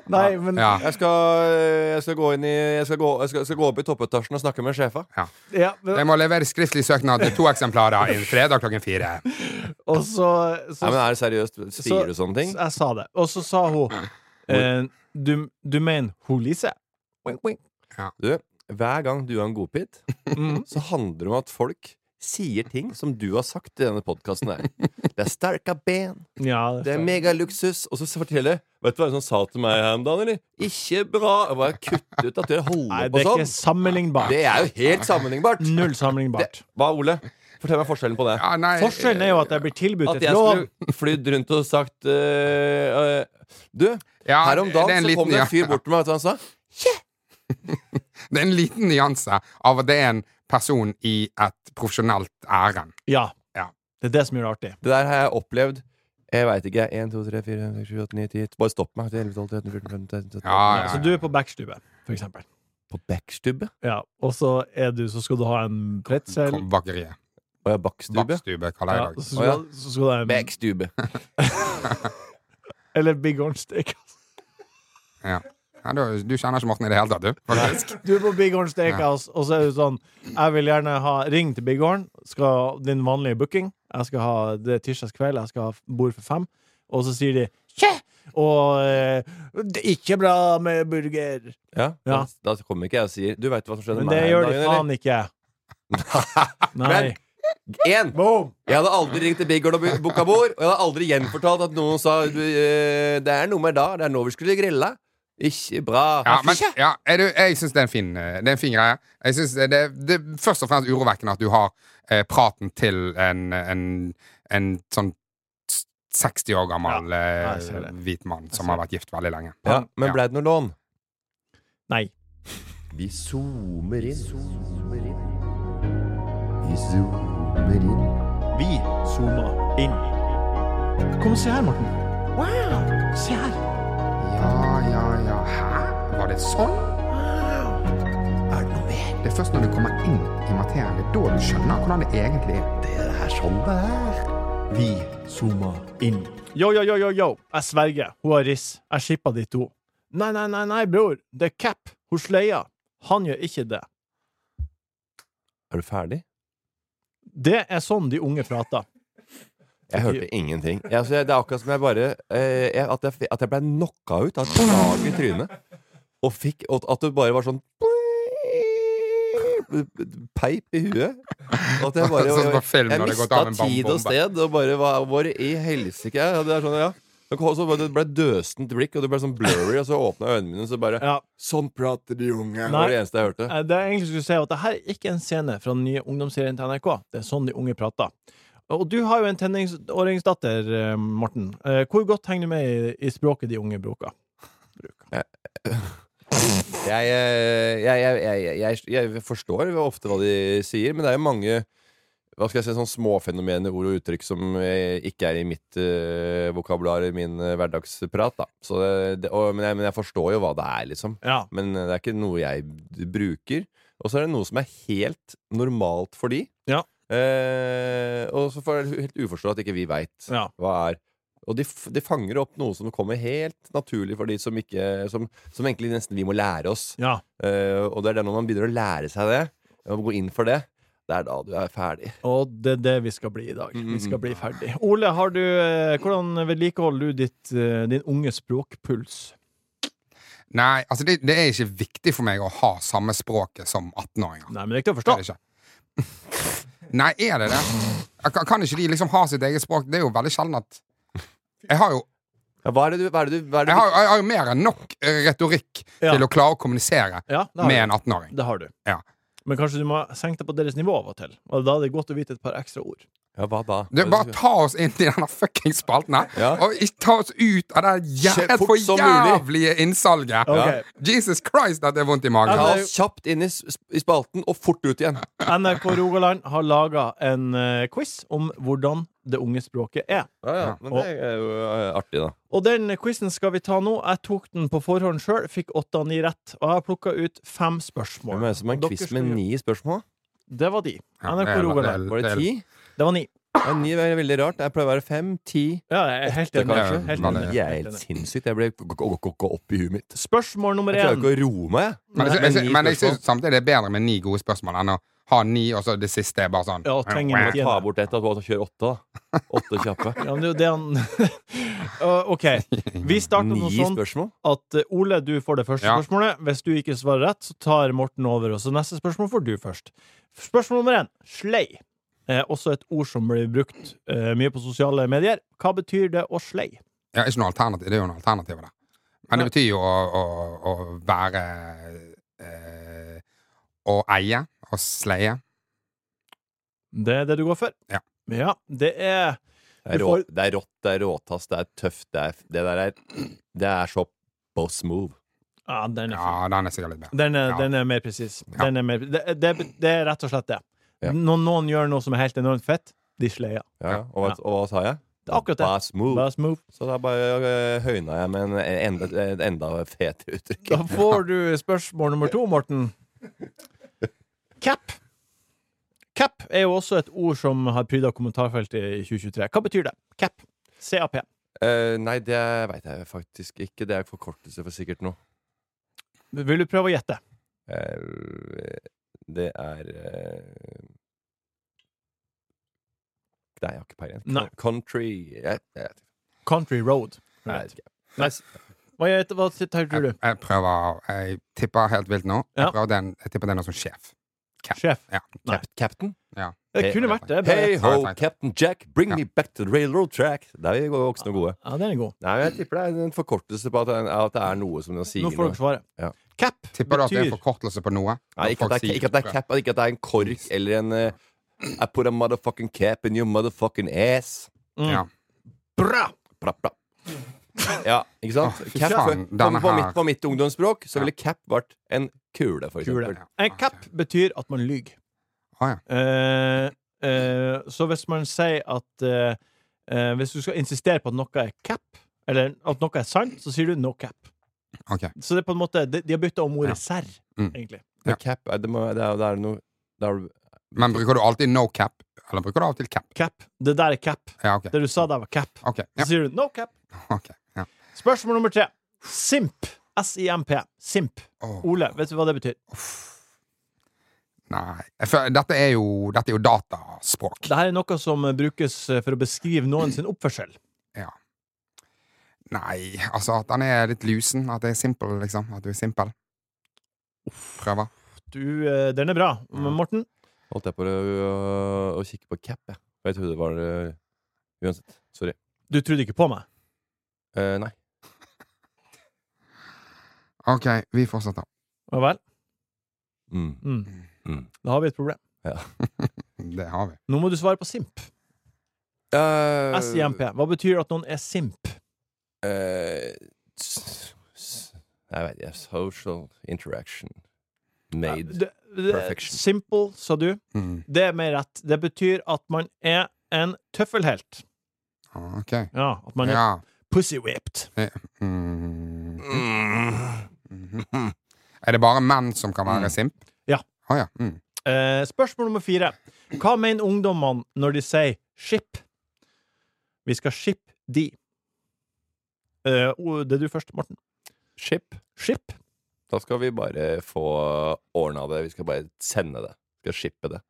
Speaker 2: Nei, men ja.
Speaker 4: Ja.
Speaker 5: Jeg skal, eh, jeg skal gå inn i Jeg skal gå, jeg skal, skal gå opp i toppetasjen og snakke med sjefa.
Speaker 4: Ja.
Speaker 2: men,
Speaker 4: Jeg må levere skriftlig søknad til to eksemplarer innen fredag klokken fire.
Speaker 2: Og så, så,
Speaker 5: Nei, men er det seriøst?
Speaker 2: så-
Speaker 5: Sier du sånne ting?
Speaker 2: så Jeg sa det. Og så sa hun eh, du, du mener hun Lise? Wink, wink.
Speaker 5: Du, hver gang du har en godbit,
Speaker 2: Mhm.
Speaker 5: så handler det om at folk sier ting som du har sagt i denne podkasten her. Det er sterke ben,
Speaker 2: Ja, det
Speaker 5: det er
Speaker 2: er
Speaker 5: megaluksus, og så forteller jeg Vet du hva som sa til meg her om dagen, eller? Ikke bra! Jeg bare kutt ut at dere
Speaker 2: Nei,
Speaker 5: holder
Speaker 2: det er
Speaker 5: på
Speaker 2: ikke
Speaker 5: sånn.
Speaker 2: sammenlignbart.
Speaker 5: Det er jo helt sammenlignbart.
Speaker 2: Null sammenlignbart.
Speaker 5: Hva, Ole? Fortell meg forskjellen på det.
Speaker 4: Ja, nei,
Speaker 2: Forskjellen er jo at jeg blir
Speaker 5: At
Speaker 2: tilbudt et
Speaker 5: jeg
Speaker 2: lån.
Speaker 5: skulle flydd rundt og sagt øh, øh, Du,
Speaker 4: Ja,
Speaker 5: her om
Speaker 4: det er en
Speaker 5: dagen så kom
Speaker 4: liten-
Speaker 5: det
Speaker 4: ja.
Speaker 5: en fyr bort til meg, vet du hva han sa?
Speaker 4: Det er en liten nyanse av at det er en person i et profesjonelt ærend.
Speaker 2: Ja.
Speaker 4: Ja.
Speaker 2: Det er det som gjør det artig.
Speaker 5: Det der har jeg opplevd. Jeg veit ikke. 1, 2, 3, 4, 5, 6, 7, 8, 9, 10 Bare stopp meg. 11, 12, 13, 14, 15, 16, 17, 18,
Speaker 4: Ja, ja, ja.
Speaker 2: Så du er på backstube, for eksempel.
Speaker 5: På backstubbe?
Speaker 2: Ja, og så er du, så skal du ha en pretzel.
Speaker 4: Bakeriet.
Speaker 5: Å ja, bakstubbe.
Speaker 4: Bakstube, kaller
Speaker 2: Ja, så
Speaker 4: jeg det.
Speaker 2: skal,
Speaker 5: Å,
Speaker 2: så skal du ha en,
Speaker 5: Backstube.
Speaker 2: eller Big Orange Steakhouse.
Speaker 4: Ja. Ja, du, du kjenner ikke Morten i det hele tatt, du. Faktisk.
Speaker 2: Du er på Big Orange Steakhouse, og så er du sånn Jeg vil gjerne ha Ring til Big Orange. Skal din vanlige booking. Jeg skal ha Det er tirsdags kveld, jeg skal ha bord for fem. Og så sier de Tje! Og eh, Det er ikke bra med burger.
Speaker 5: Ja.
Speaker 2: Ja.
Speaker 5: Da, da kommer ikke jeg og sier Du veit hva som skjedde
Speaker 2: Men
Speaker 5: med
Speaker 2: det
Speaker 5: meg
Speaker 2: gjør de faen ikke. Nei.
Speaker 5: Men- Én!
Speaker 2: Boom!
Speaker 5: Jeg hadde aldri ringt til Big Girl og bu- booka bord. Og jeg hadde aldri gjenfortalt at noen sa du, eh, Det er noe med da. Det er nå vi skulle grille. Ikke bra.
Speaker 4: Ja, men, ja, er du, jeg syns det er en fin, eh, det er en fin greie. Jeg synes det, det, det er først og fremst urovekkende at du har eh, praten til en, en, en sånn 60 år gammel
Speaker 2: Ja, jeg ser
Speaker 4: eh,
Speaker 2: det.
Speaker 4: hvit mann som
Speaker 2: ser
Speaker 4: har vært gift veldig lenge.
Speaker 5: Ja, men ble det noe lån?
Speaker 2: Nei.
Speaker 5: Vi zoomer inn. Vi zoomer inn.
Speaker 2: Vi zooma inn. Kom og se her, Morten. Wow! Se her.
Speaker 4: Ja, ja, ja. Hæ? Var det sånn?
Speaker 5: Er det noe mer?
Speaker 4: Det er først når du kommer inn i materien, det er da du skjønner hvordan det egentlig er.
Speaker 5: Det er her sånn det er.
Speaker 2: Vi zooma inn. Yo, yo, yo, yo, yo. Jeg sverger. Hun har riss. Jeg skippa de to. Nei, nei, nei, nei, bror. Det er Cap. Hun sleier. Han gjør ikke det.
Speaker 5: Er du ferdig?
Speaker 2: Det er sånn de unge prater.
Speaker 5: Jeg hørte ingenting. Jeg, altså, jeg, det er akkurat som jeg bare eh, jeg, at, jeg, at jeg ble knocka ut av et slag i trynet. Og fikk og, At det bare var sånn Peip i huet. Og at jeg bare
Speaker 4: Sånn som på film
Speaker 5: Jeg
Speaker 4: når det går
Speaker 5: mista
Speaker 4: av en bam-
Speaker 5: tid og
Speaker 4: bombe.
Speaker 5: sted og bare hva, Hvor i helsike er jeg? Og det? Er sånn, ja. Og så bare- Det ble døsent blikk, og det ble sånn blurry, og så åpna øynene mine, og så bare
Speaker 2: Ja.
Speaker 5: Sånn prater de unge. Det
Speaker 2: Nei.
Speaker 5: var det eneste jeg hørte.
Speaker 2: Eh, Det jeg egentlig skulle si, er at det her er ikke en scene fra den nye ungdomsserien til NRK. Det er sånn de unge prater. Og du har jo en tenåringsdatter, eh, Morten. Eh, Hvor godt henger du med i, i språket de unge bruker?
Speaker 5: Jeg, eh, jeg, jeg, jeg, jeg, jeg forstår ofte hva de sier, men det er jo mange hva skal jeg si, sånn småfenomener, ord og uttrykk som eh, ikke er i mitt eh, vokabular i min eh, hverdagsprat. da Så eh, det, det, og, men, jeg, men jeg forstår jo hva det er, liksom.
Speaker 2: Ja.
Speaker 5: Men det er ikke noe jeg b- bruker. Og så er det noe som er helt normalt for de.
Speaker 2: Ja.
Speaker 5: Eh, og så får jeg helt uforståelig at ikke vi veit
Speaker 2: Ja.
Speaker 5: hva er Og de, f de fanger opp noe som kommer helt naturlig for de som ikke Som, som egentlig nesten vi må lære oss.
Speaker 2: ja.
Speaker 5: Eh, og det er det når man begynner å lære seg det, og gå inn for det, det er da du er ferdig.
Speaker 2: Og det er det vi skal bli i dag. Vi skal bli ferdig. Ole, har du, eh, hvordan vedlikeholder du ditt, eh, din unge språkpuls?
Speaker 4: Nei, altså det, det er ikke viktig for meg å ha samme språket som 18-åringer.
Speaker 2: Nei, men det er ikke til å forstå.
Speaker 4: Det er det ikke. Nei, er det det? Jeg Kan, kan ikke de liksom ha sitt eget språk? Det er jo veldig sjelden at Jeg har jo,
Speaker 5: Ja, hva er det du hva er det du, hva er det
Speaker 4: jeg
Speaker 5: du
Speaker 4: har, jeg har jo mer enn nok eh, retorikk
Speaker 2: Ja.
Speaker 4: til å klare å kommunisere
Speaker 2: Ja, det
Speaker 4: med
Speaker 2: har
Speaker 4: en
Speaker 2: du.
Speaker 4: 18-åring.
Speaker 2: Det har du.
Speaker 4: Ja.
Speaker 2: Men kanskje du må senke deg på deres nivå av og til. Og da er det godt å vite et par ekstra ord.
Speaker 5: Ja, hva da?
Speaker 4: Du, bare ta oss inn i denne fuckings spalten her,
Speaker 5: Ja.
Speaker 4: og ikke ta oss ut av det jæ-
Speaker 5: Kjør
Speaker 4: helt
Speaker 5: fort
Speaker 4: for
Speaker 5: som mulig.
Speaker 4: jævlige innsalget.
Speaker 2: Ok.
Speaker 4: Jesus Christ, at det er vondt i
Speaker 5: Ta
Speaker 4: magen.
Speaker 2: Ja,
Speaker 5: oss kjapt inn i, s- i spalten og fort ut igjen.
Speaker 2: NRK Rogaland har laga en eh, quiz om hvordan det unge språket er.
Speaker 5: Ja, ja,
Speaker 4: Ja.
Speaker 5: men det er jo eh, artig, da.
Speaker 2: Og den quizen skal vi ta nå. Jeg tok den på forhånd sjøl, fikk åtte av ni rett. Og jeg har plukka ut fem
Speaker 5: Hvem
Speaker 2: spørsmål.
Speaker 5: er det som har en
Speaker 2: Dere
Speaker 5: quiz
Speaker 2: skal
Speaker 5: med
Speaker 2: gjøre-
Speaker 5: ni spørsmål?
Speaker 2: Det var de.
Speaker 4: Ja,
Speaker 2: NRK
Speaker 4: det er-
Speaker 2: Rogaland.
Speaker 5: Var det
Speaker 4: er-
Speaker 5: ti?
Speaker 2: Det var ni.
Speaker 5: Ja, ni er veldig rart. Jeg pleier å være fem, ti
Speaker 2: Ja, jeg er helt enig.
Speaker 5: kanskje.
Speaker 2: Helt
Speaker 4: Ja,
Speaker 2: enig.
Speaker 4: det
Speaker 5: Jeg er
Speaker 2: Helt
Speaker 5: helt
Speaker 2: enig.
Speaker 5: sinnssykt. Jeg ble gå- gå gå- gå opp i huet mitt.
Speaker 2: Spørsmål nummer
Speaker 5: Jeg klarer
Speaker 2: én.
Speaker 5: ikke å roe meg. jeg.
Speaker 4: Men, jeg-
Speaker 5: Men
Speaker 4: jeg-
Speaker 5: ni
Speaker 4: men jeg
Speaker 5: spørsmål.
Speaker 4: syns samtidig det er bedre med ni gode spørsmål enn å ha ni, og så det siste er bare sånn
Speaker 2: Ja, trenger
Speaker 5: Bare
Speaker 2: nok igjen.
Speaker 5: Ta bort ett og og kjør åtte, da. Åtte kjappe.
Speaker 2: Ja, men det er jo det han Å, OK. Vi starter noe
Speaker 5: Ni
Speaker 2: sånn
Speaker 5: spørsmål?
Speaker 2: at eh, Ole, du får det første
Speaker 4: Ja.
Speaker 2: spørsmålet. Hvis du ikke svarer rett, så tar Morten over. Og så neste spørsmål får du først. Spørsmål nummer én. Slei. Eh, også et ord som blir brukt eh, mye på sosiale medier. Hva betyr det å slei?
Speaker 4: Ja, ikke noe alternativ. Det er jo noen alternativer der. Men det betyr jo å, å, å være eh, Å eie og sleie.
Speaker 2: Det er det du går for?
Speaker 4: Ja.
Speaker 2: ja det er
Speaker 5: Det er,
Speaker 2: Du
Speaker 5: rå,
Speaker 2: får-
Speaker 5: det er rått, det er råtass, det er tøft, det er Det der er Det er så boss move.
Speaker 2: Ja, den er fin.
Speaker 4: Ja, den er sikkert litt bedre.
Speaker 2: Den er,
Speaker 4: Ja.
Speaker 2: den er mer presis.
Speaker 4: Ja.
Speaker 2: Den er mer, det, det, det er rett og slett det.
Speaker 5: Ja.
Speaker 2: Når noen gjør noe som er helt enormt fett, de sleier.
Speaker 5: Ja, og, hva- og hva sa jeg?
Speaker 2: Det er akkurat det.
Speaker 5: Boss move.
Speaker 2: Bare smooth.
Speaker 5: Så da bare øh, høyna jeg med en enda, et enda fetere uttrykk.
Speaker 2: Da får du spørsmål nummer to, Morten. Cap. Cap er jo også et ord som har pryda kommentarfeltet i 2023. Hva betyr det? Cap. CAP.
Speaker 5: Eh, nei, det veit jeg faktisk ikke. Det er forkortelse for sikkert noe.
Speaker 2: Vil du prøve å gjette?
Speaker 5: Eh, det er eh, Nei, jeg har ikke peiling.
Speaker 2: Nei.
Speaker 5: Country jeg, jeg, vet ikke.
Speaker 2: Country Road.
Speaker 5: Nei, jeg vet ikke.
Speaker 2: Hva, gjet- hva tror du?
Speaker 4: Jeg, jeg prøver Jeg tipper helt vilt nå.
Speaker 2: Ja.
Speaker 4: Jeg, prøver den, jeg tipper det er noe som sjef.
Speaker 2: Sjef.
Speaker 4: Ja.
Speaker 2: Nei.
Speaker 5: Captain?
Speaker 2: Det kunne vært det. Bare.
Speaker 5: Hey
Speaker 4: Ja, det
Speaker 5: ho,
Speaker 4: er sant.
Speaker 5: Captain Jack, bring
Speaker 4: Ja.
Speaker 5: me back to the railroad track. Der er vi voksne og gode.
Speaker 2: Ja, den er god.
Speaker 5: Nei, men Jeg tipper det er en forkortelse på at, at det er noe som de sier
Speaker 2: Nå får dere svaret.
Speaker 5: Ja.
Speaker 2: Cap
Speaker 4: Tipper du at det er en
Speaker 2: betyr
Speaker 4: forkortelse på noe?
Speaker 5: Nei, ikke, at det er, ikke at det er cap, ikke at det er en kork eller en eh, I put a motherfucking cap in your motherfucking ass.
Speaker 4: Ja.
Speaker 2: Bra!
Speaker 5: Bra, bra. Ja, ikke sant?
Speaker 4: Å, fy
Speaker 5: cap,
Speaker 4: faen,
Speaker 5: på,
Speaker 4: denne
Speaker 5: på,
Speaker 4: her.
Speaker 5: mitt, på mitt ungdomsspråk så ville cap vært en kule, for
Speaker 2: Kule.
Speaker 5: eksempel.
Speaker 2: En cap betyr at man lyver.
Speaker 4: Å, Ah, ja.
Speaker 2: Eh, eh, så hvis man sier at eh, eh, Hvis du skal insistere på at noe er cap, eller at noe er sant, så sier du no cap.
Speaker 4: Ok.
Speaker 2: Så det er på en måte De, de har bytta om
Speaker 4: Ja.
Speaker 2: ordet serr,
Speaker 4: Mm.
Speaker 2: egentlig.
Speaker 5: Men cap, eh, det, må, det, er, det er noe det er,
Speaker 4: Men bruker du alltid no cap? Eller bruker du av og til cap?
Speaker 2: Cap. Det der er cap.
Speaker 4: Ja, ok.
Speaker 2: Det du sa der, var cap.
Speaker 4: Ok, ja,
Speaker 2: Så sier du no cap.
Speaker 4: ok ja.
Speaker 2: Spørsmål nummer tre. Simp. S-I-M-P. Simp.
Speaker 4: Åh,
Speaker 2: Ole, vet du hva det betyr?
Speaker 4: Nei. Jeg føler- Dette er jo, dette er jo dataspråk.
Speaker 2: Dette er noe som brukes for å beskrive noen sin oppførsel.
Speaker 4: Ja. Nei, altså at han er litt lusen. At det er simpel, liksom. At du er simpel. Prøver.
Speaker 2: Du, eh, den er bra.
Speaker 4: Mm.
Speaker 2: Men Morten?
Speaker 5: Holdt jeg på å, å, å kikke på cap, jeg. Jeg trodde det var eh, Uansett. Sorry.
Speaker 2: Du trodde ikke på meg?
Speaker 5: Eh, nei.
Speaker 4: Ok, vi fortsetter.
Speaker 2: Ja vel?
Speaker 5: Mm.
Speaker 2: Mm.
Speaker 5: Mm.
Speaker 2: Da har vi et problem.
Speaker 4: Det har vi.
Speaker 2: Nå må du svare på simp.
Speaker 4: Øh.
Speaker 5: Eh,
Speaker 2: SIMP. Hva betyr at noen er simp?
Speaker 5: Eh, s- s- Jeg vet ikke. Social interaction made
Speaker 2: Det, det,
Speaker 5: Perfection.
Speaker 2: simple, sa du.
Speaker 4: Mm.
Speaker 2: Det er mer rett. Det betyr at man er en tøffelhelt.
Speaker 4: Ok.
Speaker 2: Ja, at man er
Speaker 4: Ja.
Speaker 2: pussy whipped.
Speaker 4: Mm. Mhm. Er det bare menn som kan
Speaker 5: Mm.
Speaker 4: være simp?
Speaker 2: Ja.
Speaker 4: Å ja. Mm.
Speaker 2: Eh, spørsmål nummer fire. Hva mener ungdommene når de sier 'ship'? Vi skal ship de. Eh, o- det er du først, Morten.
Speaker 5: Ship.
Speaker 2: Ship.
Speaker 5: Da skal vi bare få ordna det. Vi skal bare sende det. Vi skal shippe det.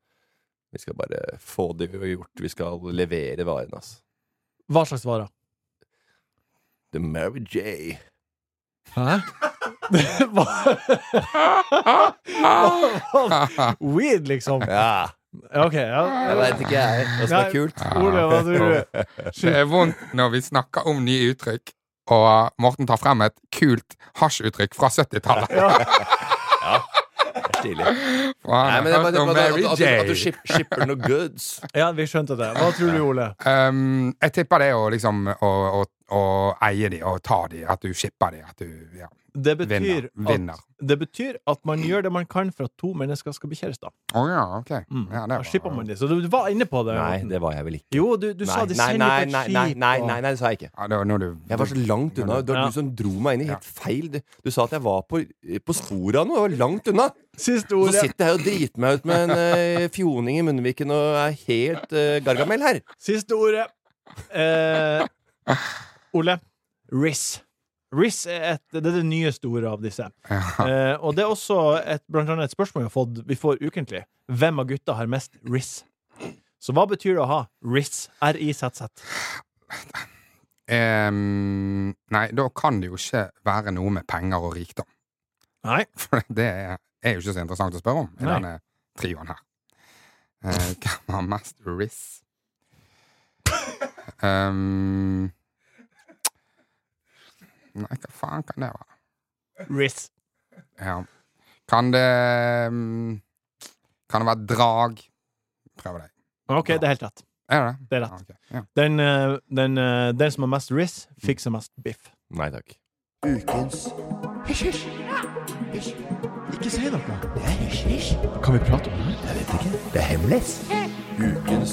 Speaker 5: Vi skal bare få det gjort. Vi skal levere varene, altså.
Speaker 2: Hva slags varer?
Speaker 5: The Mary J.
Speaker 2: Hæ? Weed, liksom.
Speaker 5: Ja!
Speaker 2: Ok, ja.
Speaker 5: Jeg veit ikke, jeg. Det som er kult.
Speaker 2: Ole, hva du
Speaker 4: Det er vondt når vi snakker om nye uttrykk, og Morten tar frem et kult hasjuttrykk fra 70-tallet.
Speaker 5: Stilig.
Speaker 4: Fra
Speaker 5: Nei, men det er bare, det er
Speaker 4: om
Speaker 5: bare at,
Speaker 4: Mary
Speaker 5: at, at, du- at du
Speaker 4: J.
Speaker 5: ship, shipper noe goods.
Speaker 2: Ja, vi skjønte det. Hva tror du, Ole?
Speaker 4: Um, jeg tipper det er å liksom å, å, å eie de og ta de, at du shipper de, at du ja,
Speaker 2: Det betyr,
Speaker 4: vinner. vinner.
Speaker 2: At, det betyr at man gjør det man kan for at to mennesker skal bli kjærester.
Speaker 4: Å ja, ok.
Speaker 2: Mm.
Speaker 4: Ja, det
Speaker 2: da
Speaker 4: var-
Speaker 2: shipper man de. Så du var inne på det.
Speaker 5: Nei,
Speaker 2: Morten.
Speaker 5: det var jeg vel ikke.
Speaker 2: Jo, du, du
Speaker 5: nei,
Speaker 2: sa de
Speaker 5: nei,
Speaker 2: sender
Speaker 5: nei,
Speaker 2: på et
Speaker 5: nei,
Speaker 2: skip.
Speaker 5: nei, nei,
Speaker 2: og-
Speaker 5: nei, nei, det sa jeg ikke.
Speaker 4: Ja, det var når du
Speaker 5: Jeg var så langt unna. Det var
Speaker 2: Ja.
Speaker 5: du som dro meg inn i
Speaker 4: Ja.
Speaker 5: helt feil. Du, du sa at jeg var på, på sporet av noe. Jeg var langt unna.
Speaker 2: Siste
Speaker 5: Og så
Speaker 2: ordet.
Speaker 5: sitter jeg og driter meg ut med en eh, fjoning i munnviken og er helt eh, gargamel her.
Speaker 2: Siste ordet. Eh, Ole. Riz. Riz er, et, det, er det nyeste ordet av disse.
Speaker 4: Ja.
Speaker 2: Eh, og det er også et, blant annet et spørsmål vi har fått Vi får ukentlig. Hvem av gutta har mest Riz? Så hva betyr det å ha Riz? R-I-Z-Z.
Speaker 4: Em, Nei, da kan det jo ikke være noe med penger og rikdom.
Speaker 2: Nei.
Speaker 4: For det er, er jo ikke så interessant å spørre om i
Speaker 2: Nei.
Speaker 4: denne trioen her. Eh, hvem har mest riss? Um, nei, hva faen kan det være?
Speaker 2: Riz.
Speaker 4: Ja. Kan det mm, Kan det være drag? Prøv det.
Speaker 2: OK, det er helt rett.
Speaker 4: Er det det?
Speaker 2: Det er rett.
Speaker 4: Ok, ja.
Speaker 2: Den, eh, den, eh, den som har mest Riz, fikser mest biff.
Speaker 5: Nei takk.
Speaker 3: Ukens
Speaker 2: Ikke si noe.
Speaker 3: Det er hemmelig. Ukens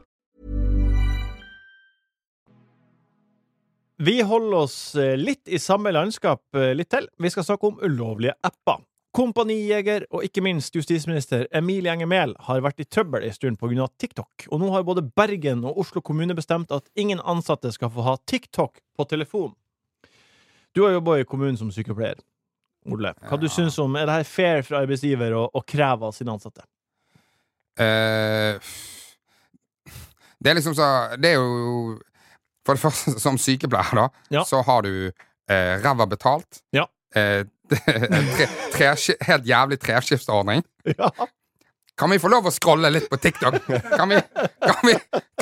Speaker 2: Vi holder oss eh, litt i samme landskap eh, litt til. Vi skal snakke om ulovlige apper. Kompanijeger og ikke minst justisminister Emilie Enger Mehl har vært i trøbbel en stund pga. TikTok, og nå har både Bergen og Oslo kommune bestemt at ingen ansatte skal få ha TikTok på telefon. Du har jobba i kommunen som sykepleier. Ole, hva du syns om Er det her fair for arbeidsgiver å, å kreve av sine ansatte?
Speaker 4: Eh, det er liksom så Det er jo For det første, som sykepleier, da,
Speaker 2: Ja.
Speaker 4: så har du eh, ræva betalt.
Speaker 2: Ja.
Speaker 4: Eh, en tre, treski- helt jævlig treskiftsordning.
Speaker 2: Ja.
Speaker 4: Kan vi få lov å scrolle litt på TikTok? Kan vi, kan vi,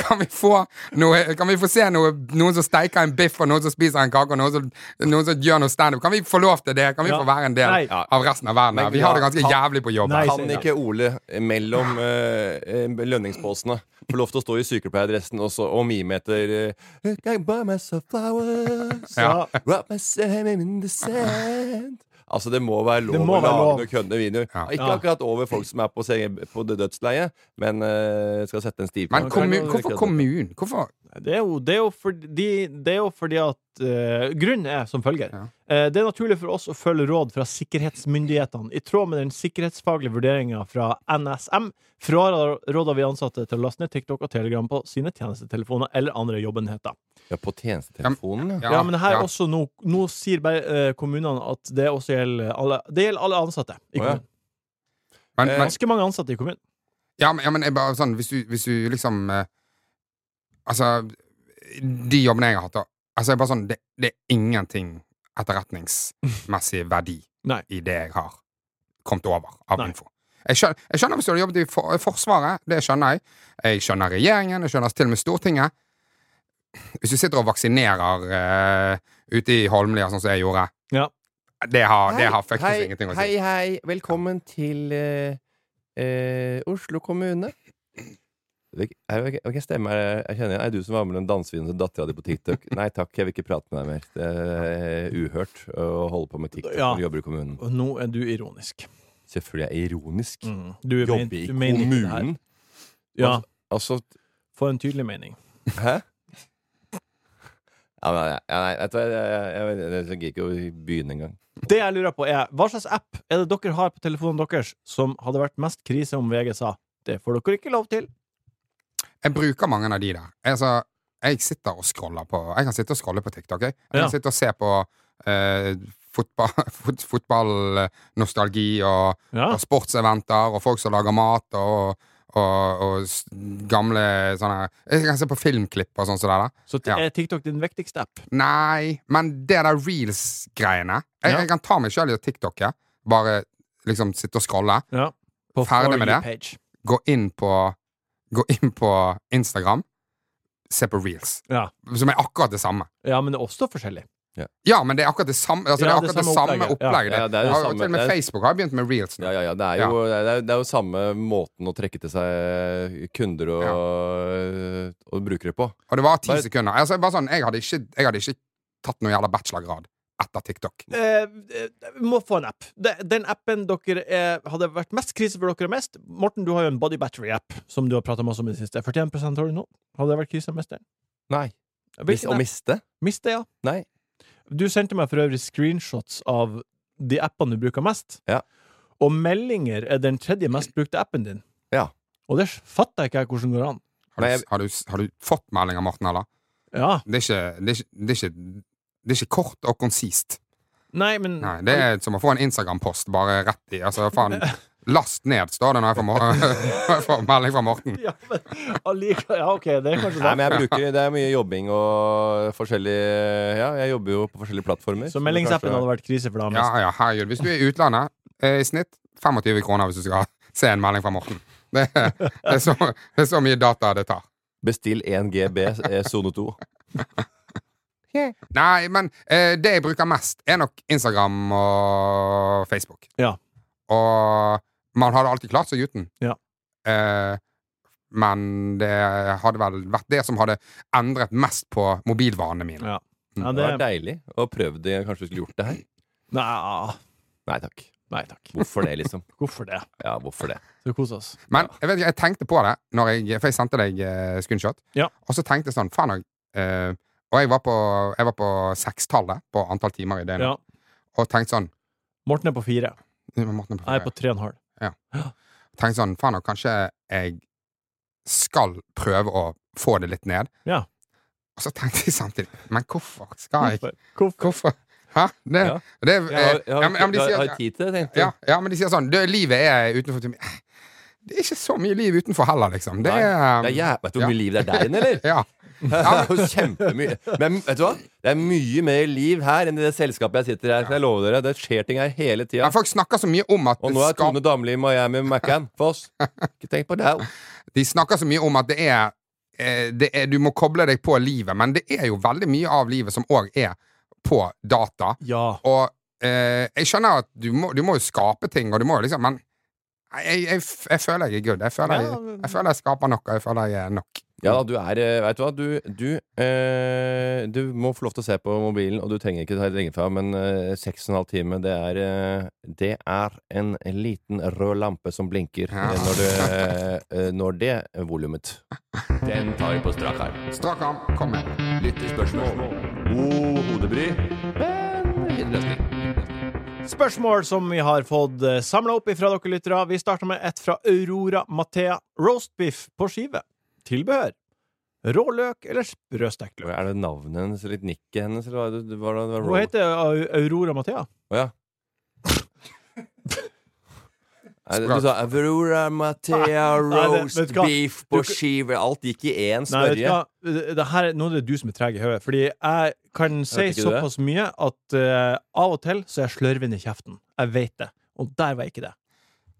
Speaker 4: kan vi, få, noe, kan vi få se noe, noen som steiker en biff, og noen som spiser en kake, og noen som, noen som gjør noe standup? Kan vi få lov til det? Kan vi
Speaker 2: Ja.
Speaker 4: få være en del
Speaker 2: Nei.
Speaker 4: av resten av verden? her?
Speaker 5: Men
Speaker 4: Vi
Speaker 5: ja,
Speaker 4: har det ganske
Speaker 5: kan-
Speaker 4: jævlig på jobb.
Speaker 2: Nei,
Speaker 4: her.
Speaker 5: Kan ikke Ole mellom
Speaker 2: Ah.
Speaker 5: eh, eh, lønningsposene få lov til å stå i sykepleierdressen og, så- og mime etter eh, I buy myself flowers
Speaker 4: Ja.
Speaker 5: wrap myself in the sand Altså Det må være lov
Speaker 2: Det må
Speaker 5: å
Speaker 2: være
Speaker 5: lage
Speaker 2: lov.
Speaker 5: noen køddende videoer.
Speaker 4: Ja.
Speaker 5: Ikke
Speaker 2: Ja.
Speaker 5: akkurat over folk som er på, seng- på det dødsleiet, men eh, skal sette en stiv
Speaker 4: Men
Speaker 5: på.
Speaker 4: kommun, hvorfor kommunen? Hvorfor?
Speaker 2: Det er jo, det er jo, fordi, det er jo fordi at eh, Grunnen er som følger.
Speaker 4: Ja.
Speaker 2: Eh, det er naturlig for oss å følge råd fra sikkerhetsmyndighetene. I tråd med den sikkerhetsfaglige vurderinga fra NSM fraråder vi ansatte til å laste ned TikTok og Telegram på sine tjenestetelefoner eller andre jobbenheter.
Speaker 5: Ja, på tjenestetelefonen, ja.
Speaker 2: Ja, men her også nå, nå sier bare eh, kommunene at det også gjelder alle, det gjelder alle ansatte i
Speaker 5: Å, ja.
Speaker 2: kommunen.
Speaker 4: Men,
Speaker 5: Eh,
Speaker 4: men,
Speaker 2: Ganske mange ansatte i kommunen.
Speaker 4: ja, men, ja, men jeg bare sånn, hvis du, hvis du liksom eh, Altså, de jobbene jeg har hatt, da. Altså, jeg bare sånn, det, det er ingenting etterretningsmessig verdi
Speaker 2: Nei.
Speaker 4: i det jeg har kommet over av
Speaker 2: Nei.
Speaker 4: info. Jeg skjønner, jeg skjønner hvis du hadde jobbet i for, Forsvaret, det skjønner jeg. Jeg skjønner regjeringen, jeg skjønner til og med Stortinget. Hvis du sitter og vaksinerer eh, ute i Holmlia, sånn som jeg gjorde
Speaker 2: Ja.
Speaker 4: Det har, det har
Speaker 5: hei,
Speaker 4: faktisk ingenting å si.
Speaker 5: hei, hei. Velkommen til eh, eh, Oslo kommune. Hvil- Er det ikke stemme? Er, jeg kjenner igjen. Er det du som var med den dansevideoen til dattera di på TikTok? Nei takk, jeg vil ikke prate med deg mer. Det er uhørt å holde på med TikTok
Speaker 2: Ja.
Speaker 5: når du jobber i kommunen.
Speaker 2: Og nå er du ironisk.
Speaker 5: Selvfølgelig er jeg ironisk.
Speaker 2: Du er men-
Speaker 5: Jobbe Mm. i
Speaker 2: du mener ikke det her.
Speaker 5: kommunen?
Speaker 2: Ja,
Speaker 5: Altså
Speaker 2: få en tydelig mening.
Speaker 5: Hæ? Ja, men, ja, nei, vet du hva, jeg, jeg, jeg, jeg, jeg gidder ikke å begynne engang.
Speaker 2: Det jeg lurer på er, hva slags app er det dere har på telefonen deres som hadde vært mest krise om VG sa? Det får dere ikke lov til.
Speaker 4: Jeg bruker mange av de der. Altså, jeg sitter og scroller på Jeg kan sitte og scrolle på TikTok. Jeg, jeg
Speaker 2: Ja.
Speaker 4: kan sitte og se på eh, fotball, fot, fotballnostalgi og,
Speaker 2: Ja.
Speaker 4: og sportseventer og folk som lager mat og, og, og s- gamle sånne Jeg kan se på filmklipp og sånn som det der.
Speaker 2: Så t-
Speaker 4: Ja.
Speaker 2: er TikTok din viktigste app?
Speaker 4: Nei, men det der reels-greiene jeg,
Speaker 2: Ja.
Speaker 4: jeg kan ta meg sjøl i å TikToke. Bare liksom sitte og scrolle.
Speaker 2: Ja. På
Speaker 4: Ferdig
Speaker 2: For
Speaker 4: med
Speaker 2: You
Speaker 4: det.
Speaker 2: Page.
Speaker 4: Gå inn på Gå inn på Instagram. Se på reels.
Speaker 2: Ja.
Speaker 4: Som er akkurat det samme.
Speaker 2: ja, men det er også forskjellig.
Speaker 4: Ja, men det er akkurat det samme Altså
Speaker 2: Ja,
Speaker 4: det er akkurat det samme opplegget.
Speaker 5: Ja, det er jo
Speaker 4: Og- og
Speaker 5: samme-
Speaker 4: til og med
Speaker 5: det er-
Speaker 4: Facebook har begynt med reels nå.
Speaker 5: Ja, ja, ja. Det er jo, Det er, det er jo samme måten å trekke til seg eh, kunder og, eh, og brukere på.
Speaker 4: Og det var ti
Speaker 5: Bare-
Speaker 4: sekunder. Altså, bare sånn, jeg, hadde ikke, jeg hadde ikke tatt noe jævla bachelorgrad etter TikTok.
Speaker 2: Eh, eh, vi må få en app. De- Den appen dere eh, hadde vært mest krise for dere mest Morten, du har jo en Body Battery-app som du har prata masse om i det siste. 41 har du nå. Hadde det vært krise mest der?
Speaker 5: Nei. Mis,
Speaker 2: Hvilken
Speaker 5: å
Speaker 2: app?
Speaker 5: miste?
Speaker 2: Miste, ja.
Speaker 5: Nei.
Speaker 2: Du sendte meg for øvrig screenshots av de appene du bruker mest.
Speaker 5: Ja.
Speaker 2: Og meldinger er den tredje mest brukte appen din.
Speaker 5: Ja.
Speaker 2: Og det fatter jeg ikke jeg hvordan går an.
Speaker 4: Har,
Speaker 5: Nei,
Speaker 4: du-
Speaker 5: jeg-
Speaker 4: har, du- har du fått melding av Morten, eller?
Speaker 2: Ja.
Speaker 4: Det er ikke, det er ikke, det er ikke, det er ikke kort og konsist.
Speaker 2: Nei, men
Speaker 4: Nei, det er som å få en Instagram-post bare rett i. Altså, faen. Last ned, står det når jeg får, mor- når jeg får melding fra Morten.
Speaker 2: ja, men allikevel Ja, OK, det er kanskje
Speaker 5: Nei,
Speaker 2: det.
Speaker 5: men jeg bruker, Det er mye jobbing og forskjellig Ja, jeg jobber jo på forskjellige plattformer.
Speaker 2: Så meldingsappen hadde vært krise for deg mest.
Speaker 4: Ja, ja, herregud. Hvis du er i utlandet, eh, i snitt 25 kroner hvis du skal se en melding fra Morten. Det, er- det, er, så, det er så mye data det tar.
Speaker 5: Bestill 1 GB eh, sone 2.
Speaker 4: Nei, men eh, det jeg bruker mest, er nok Instagram og Facebook.
Speaker 2: Ja.
Speaker 4: Og man hadde alltid klart seg uten.
Speaker 2: Ja.
Speaker 4: Eh, men det hadde vel vært det som hadde endret mest på mobilvanene mine.
Speaker 2: Ja. Ja,
Speaker 5: Det
Speaker 2: det
Speaker 5: var deilig å prøve det. Kanskje vi skulle gjort det her?
Speaker 2: Nei,
Speaker 5: Nei takk.
Speaker 2: nei takk.
Speaker 5: Hvorfor det, liksom?
Speaker 2: Hvorfor det?
Speaker 5: Ja, hvorfor det?
Speaker 2: Skal vi kose oss?
Speaker 4: Men jeg, vet, ikke, jeg tenkte på det, når jeg, for jeg sendte deg eh, screenshot,
Speaker 2: Ja.
Speaker 4: og så tenkte jeg sånn Faen òg. Eh, og jeg var på, jeg var på sekstallet på antall timer i døgnet,
Speaker 2: Ja.
Speaker 4: og tenkte sånn
Speaker 2: Morten er på fire.
Speaker 4: Morten er på
Speaker 2: Jeg
Speaker 4: ferie.
Speaker 2: er på tre og en halv.
Speaker 4: tenkte sånn, faen, og kanskje jeg skal prøve å få det litt ned.
Speaker 2: Ja.
Speaker 4: Og så tenkte jeg samtidig, men hvorfor skal jeg?
Speaker 2: Hvorfor?
Speaker 4: Hvorfor? Hæ? Det,
Speaker 5: Ja.
Speaker 4: det,
Speaker 5: Jeg
Speaker 4: eh,
Speaker 5: har, jeg har,
Speaker 4: ja, men, ja, men de
Speaker 5: jeg
Speaker 4: sier,
Speaker 5: har, tid til det, tenkte
Speaker 4: ja,
Speaker 5: jeg.
Speaker 4: ja, men de sier sånn, det, livet er utenfor timen. Det er ikke så mye liv utenfor heller, liksom. Det
Speaker 5: Nei,
Speaker 4: er...
Speaker 5: det er jæv- Vet du hvor mye liv det er der inne, eller?
Speaker 4: Ja.
Speaker 5: Det er jo kjempemye. Men vet du hva? Det er mye mer liv her enn i det selskapet jeg sitter her. Kan jeg love dere, Det skjer ting her hele tida.
Speaker 4: Men folk snakker så mye om at
Speaker 5: Og
Speaker 4: det
Speaker 5: nå er
Speaker 4: skal-
Speaker 5: Tone Damli i Miami med Macan Foss. Ikke tenk på det.
Speaker 4: De snakker så mye om at det er, eh, det er Du må koble deg på livet, men det er jo veldig mye av livet som òg er på data.
Speaker 2: Ja.
Speaker 4: Og eh, jeg skjønner at du må, du må jo skape ting, og du må jo liksom Men jeg, jeg, jeg, f- jeg føler jeg er good. Jeg føler jeg,
Speaker 2: Ja, men-
Speaker 4: jeg, føler jeg skaper nok, og jeg føler jeg er nok.
Speaker 5: Ja da, du er eh, Vet du hva? Du, du, eh, du må få lov til å se på mobilen, og du trenger ikke ta det lenge fra, men eh, seks og en halv time, det er eh, Det er en liten rød lampe som blinker
Speaker 4: Ja.
Speaker 5: eh, når, det, eh, når det er volumet.
Speaker 3: Den tar vi på strak arm.
Speaker 4: Strak arm, kom med.
Speaker 3: Lyttespørsmål. God hodebry, men fin løsning.
Speaker 2: Spørsmål som vi har fått samla opp ifra dere lyttere. Vi starter med et fra Aurora Mathea. Roastbiff på skive. Tilbehør. Rå løk eller sprøstekt løk?
Speaker 5: Er det navnet hennes eller nikket hennes? Eller hva er det, det var det, det var
Speaker 2: Hun
Speaker 5: Roll.
Speaker 2: heter Au- Aurora Mathea.
Speaker 5: Å, ja. Nei, Du sa Aurora Mathea
Speaker 2: Nei, det-
Speaker 5: roast
Speaker 2: vet du hva?
Speaker 5: beef
Speaker 2: Du
Speaker 5: på
Speaker 2: kan-
Speaker 5: skive. Alt gikk i én
Speaker 2: Nei, vet du
Speaker 5: smørje.
Speaker 2: hva? Eh, Det her, er- nå er det du som er treg i hodet. Fordi jeg kan si
Speaker 5: ikke du det?
Speaker 2: såpass mye at eh, av og til så er jeg slørvende i kjeften. Jeg vet det. Og der var ikke det.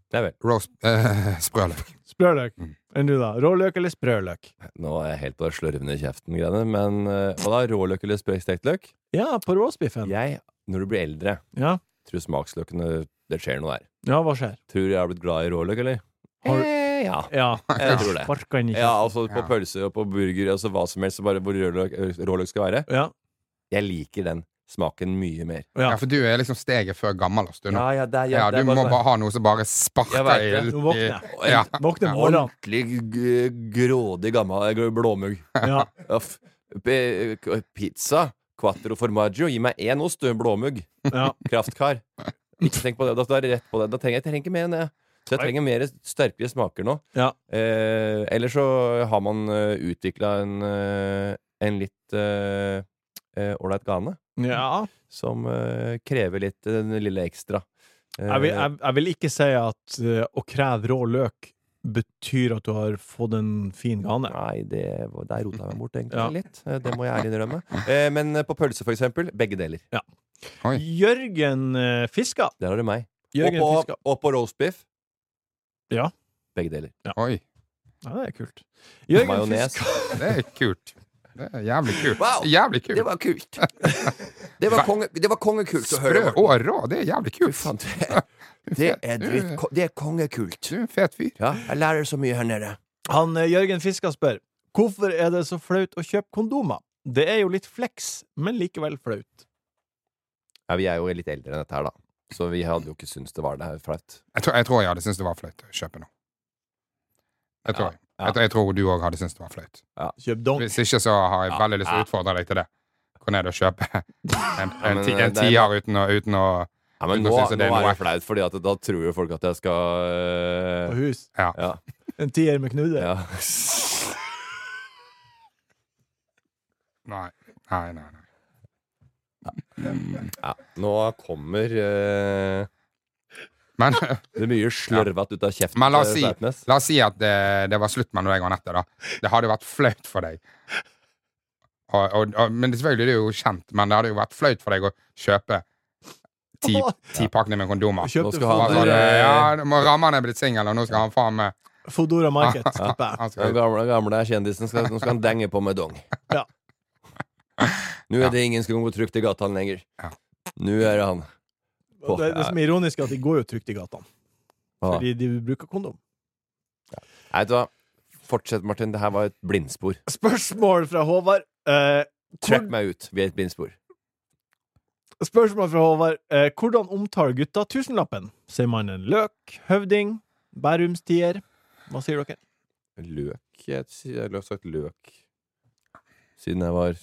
Speaker 5: Nei vel.
Speaker 4: Roast eh, Sprøløk.
Speaker 2: Sprøløk.
Speaker 5: Mm.
Speaker 2: Enn du, da? Råløk eller sprøløk?
Speaker 5: Nå er jeg helt på det slørvende i kjeften-greiene. Men eh, hva da? Råløk eller sprø- stekt løk?
Speaker 2: Ja, på roastbiffen.
Speaker 5: Jeg, når du blir eldre,
Speaker 2: Ja.
Speaker 5: tror smaksløkene Det skjer noe der.
Speaker 2: ja, hva skjer?
Speaker 5: Tror du jeg har blitt glad i råløk, eller?
Speaker 2: Har du-
Speaker 5: Eh, ja.
Speaker 2: Ja.
Speaker 5: Jeg tror det.
Speaker 2: Sparka han ikke?
Speaker 5: Ja, altså på
Speaker 4: Ja.
Speaker 5: pølse og på burger, altså hva som helst, bare hvor råløk, råløk skal være.
Speaker 2: Ja.
Speaker 5: Jeg liker den smaken mye mer.
Speaker 2: Ja.
Speaker 4: Ja, for du er liksom steget før gammelost, du nå.
Speaker 5: ja, det, er-
Speaker 4: Ja,
Speaker 5: det
Speaker 4: du
Speaker 5: er
Speaker 4: må
Speaker 5: sånn-
Speaker 4: bare ha noe som bare
Speaker 5: Jeg
Speaker 4: sparker
Speaker 5: vet
Speaker 4: i
Speaker 5: det.
Speaker 2: Nå våkner jeg.
Speaker 4: Ja.
Speaker 2: Våkner morgenen.
Speaker 5: Ordentlig g- grådig gammel g- blåmugg.
Speaker 2: Ja.
Speaker 5: Uff. P- k- Pizza, quattro formaggio, gi meg én ost, du, blåmugg.
Speaker 2: Ja.
Speaker 5: Kraftkar. Ikke tenk på det. Da, da er det rett på det. Da trenger jeg, jeg trenger ikke mer enn det. Så jeg trenger mer sterkere smaker nå.
Speaker 2: Ja.
Speaker 5: Eh, eller så har man uh, utvikla en, eh, en litt eh, eh, ålreit gane
Speaker 2: ja.
Speaker 5: som eh, krever litt eh, den lille ekstra. Eh,
Speaker 2: Jeg vil, jeg, jeg vil ikke si at eh, å kreve rå løk betyr at du har fått en fin gane.
Speaker 5: Nei, det, var- der rota jeg meg bort egentlig
Speaker 2: Ja.
Speaker 5: litt. Eh, Det må jeg ærlig innrømme. Eh, Men på pølse, for eksempel, begge deler.
Speaker 4: Oi.
Speaker 2: Jørgen eh, Fiska.
Speaker 5: Der har du meg. Og
Speaker 2: Jørgen
Speaker 5: på,
Speaker 2: Fiska.
Speaker 5: og på roastbiff.
Speaker 2: Ja.
Speaker 5: Begge deler.
Speaker 4: Oi,
Speaker 2: Ja, det er kult. Jørgen
Speaker 5: Majones.
Speaker 2: Fiska.
Speaker 4: det er kult. Det er jævlig kult.
Speaker 5: Wow.
Speaker 4: Jævlig kult.
Speaker 5: Det var kult! Det var, konge, det var kongekult å
Speaker 4: Sprø
Speaker 5: høre.
Speaker 4: og rå, det er jævlig
Speaker 5: Fy
Speaker 4: kult.
Speaker 5: faen, det, det er dritt... Det er kongekult.
Speaker 4: Du er en fet fyr.
Speaker 5: Ja, jeg lærer så mye her nede.
Speaker 2: Han eh, Jørgen Fiska spør hvorfor er det så flaut å kjøpe kondomer. Det er jo litt flex, men likevel flaut.
Speaker 5: Ja, vi er jo litt eldre enn dette her, da. Så vi hadde jo ikke syntes det var det her flaut.
Speaker 4: Jeg tror jeg, tror jeg hadde syntes det var flaut å kjøpe noe. Jeg tror, jeg.
Speaker 5: ja.
Speaker 4: Jeg, tror- jeg tror du òg hadde syntes det var flaut.
Speaker 2: Kjøp dong.
Speaker 4: Hvis ikke så har jeg veldig lyst til å utfordre deg til det. Gå ned og kjøpe en, en,
Speaker 5: men,
Speaker 4: ti-
Speaker 5: eh,
Speaker 4: en
Speaker 5: det er-
Speaker 4: tier uten å, uten å
Speaker 5: Ja, men
Speaker 4: Nå
Speaker 5: nå, nå
Speaker 4: synes jeg
Speaker 5: er
Speaker 4: det er noe
Speaker 5: det
Speaker 4: ekkelt.
Speaker 5: flaut, Fordi at da tror jo folk at jeg skal
Speaker 2: På
Speaker 5: øh,
Speaker 2: hus.
Speaker 4: Ja.
Speaker 5: Ja.
Speaker 2: En tier med Knude.
Speaker 5: ja.
Speaker 4: Nei. Nei, nei, nei.
Speaker 5: ja. Nå kommer øh,
Speaker 4: Men,
Speaker 5: Det er mye slørvete ut av kjeften.
Speaker 4: men la,
Speaker 2: Eh,
Speaker 4: oss
Speaker 5: til
Speaker 4: si,
Speaker 5: Sleipnes.
Speaker 4: la oss si at det, det var slutt mellom deg og Anette, da. Det hadde jo vært flaut for deg. Og, og, og, men selvfølgelig det er jo kjent, men det hadde jo vært flaut for deg å kjøpe ti, ti pakninger med kondomer.
Speaker 5: Nå
Speaker 2: Kjøpte
Speaker 5: skal han-
Speaker 2: Fodora,
Speaker 4: Hva
Speaker 5: eh,
Speaker 4: var det? Ja, nå må Ramman er blitt singel, og nå skal han faen meg
Speaker 2: Fodora Market, tipper jeg.
Speaker 4: han
Speaker 5: Den
Speaker 4: skal,
Speaker 5: gamle, gamle kjendisen skal, nå skal han denge på med dong.
Speaker 2: Ja.
Speaker 5: Nå er det ingen som kan gå trygt i gata lenger.
Speaker 4: Ja.
Speaker 5: Nå er han på.
Speaker 2: Det, det som er ironisk, er at de går jo trygt i gatene.
Speaker 5: Ja.
Speaker 2: Fordi de bruker kondom.
Speaker 5: Nei, vet du hva? Fortsett, Martin. Det her var et blindspor.
Speaker 2: Spørsmål fra Håvard. Eh,
Speaker 5: Trekk meg ut. Vi er et blindspor.
Speaker 2: Spørsmål fra Håvard. Eh, hvordan omtaler gutta tusenlappen? Sier man en løk, høvding, bærumstier? Hva sier dere?
Speaker 5: Løk Jeg har sagt løk siden jeg var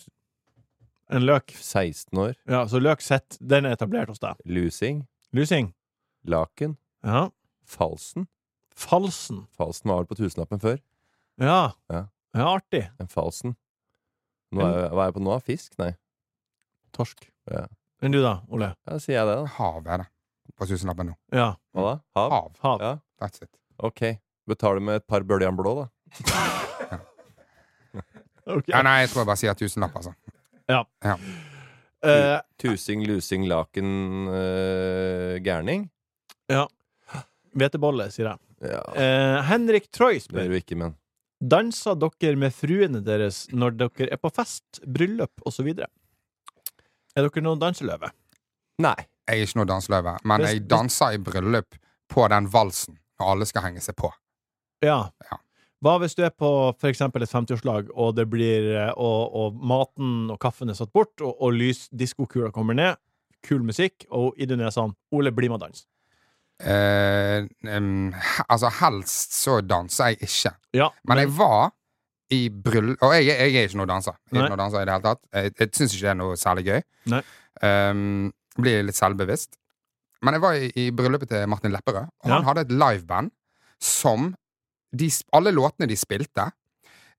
Speaker 2: En løk.
Speaker 5: 16 år.
Speaker 2: Ja, så løk sett, den er etablert hos deg.
Speaker 5: Lusing.
Speaker 2: Lusing?
Speaker 5: Laken.
Speaker 2: Ja.
Speaker 5: Falsen.
Speaker 2: Falsen?
Speaker 5: Falsen var vel på tusenlappen før.
Speaker 2: Ja.
Speaker 5: Ja.
Speaker 2: Ja, artig.
Speaker 5: En falsen. Nå er, jeg- hva er jeg på nå? Fisk? Nei.
Speaker 2: Torsk.
Speaker 5: Ja.
Speaker 2: Enn du da, Ole?
Speaker 5: Ja, sier jeg det, da.
Speaker 4: Hav er det. På tusenlappen nå.
Speaker 2: Ja.
Speaker 5: Hva da? Hav?
Speaker 4: Hav.
Speaker 2: Hav.
Speaker 5: Ja.
Speaker 4: That's it.
Speaker 5: Ok. Betaler med et par bøljan blå, da.
Speaker 2: Ok.
Speaker 4: Ja, nei, jeg tror jeg bare sier tusenlapp, altså.
Speaker 2: Eh,
Speaker 5: Tusing, lusing, laken, øh, gærning.
Speaker 2: ja. Hvetebolle, sier jeg.
Speaker 5: Ja,
Speaker 2: Eh, Henrik Troy
Speaker 5: det er
Speaker 2: spør
Speaker 5: jo ikke, men
Speaker 2: Danser dere med fruene deres når dere er på fest, bryllup osv.? Er dere noen danseløve?
Speaker 5: Nei.
Speaker 4: Jeg er ikke noe danseløve, men
Speaker 2: Hvis-
Speaker 4: jeg danser i bryllup på den valsen når alle skal henge seg på.
Speaker 2: Ja.
Speaker 4: Ja.
Speaker 2: Hva hvis du er på for eksempel et 50-årslag, og, det blir, eh, og, og maten og kaffen er satt bort, og, og lys diskokula kommer ned, kul musikk, og i den er sånn Ole, bli med og dans.
Speaker 4: Eh, em, he- altså, helst så danser jeg ikke.
Speaker 2: Ja,
Speaker 4: Men jeg var i bryllup Og jeg, jeg er ikke noe danser. Jeg, er
Speaker 2: Nei.
Speaker 4: ikke noe danser i det hele tatt. jeg, jeg syns ikke det er noe særlig gøy.
Speaker 2: Nei.
Speaker 4: Em, blir litt selvbevisst. Men jeg var i, i bryllupet til Martin Lepperød, og
Speaker 2: Ja.
Speaker 4: han hadde et liveband som de, sp- Alle låtene de spilte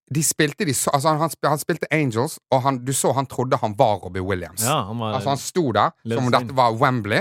Speaker 4: de spilte de, så- altså han, han sp- han spilte Angels, og han, du så han trodde han var Robbie Williams.
Speaker 2: ja, han var
Speaker 4: Altså Han sto der som
Speaker 2: Løvstein.
Speaker 4: om dette var Wembley,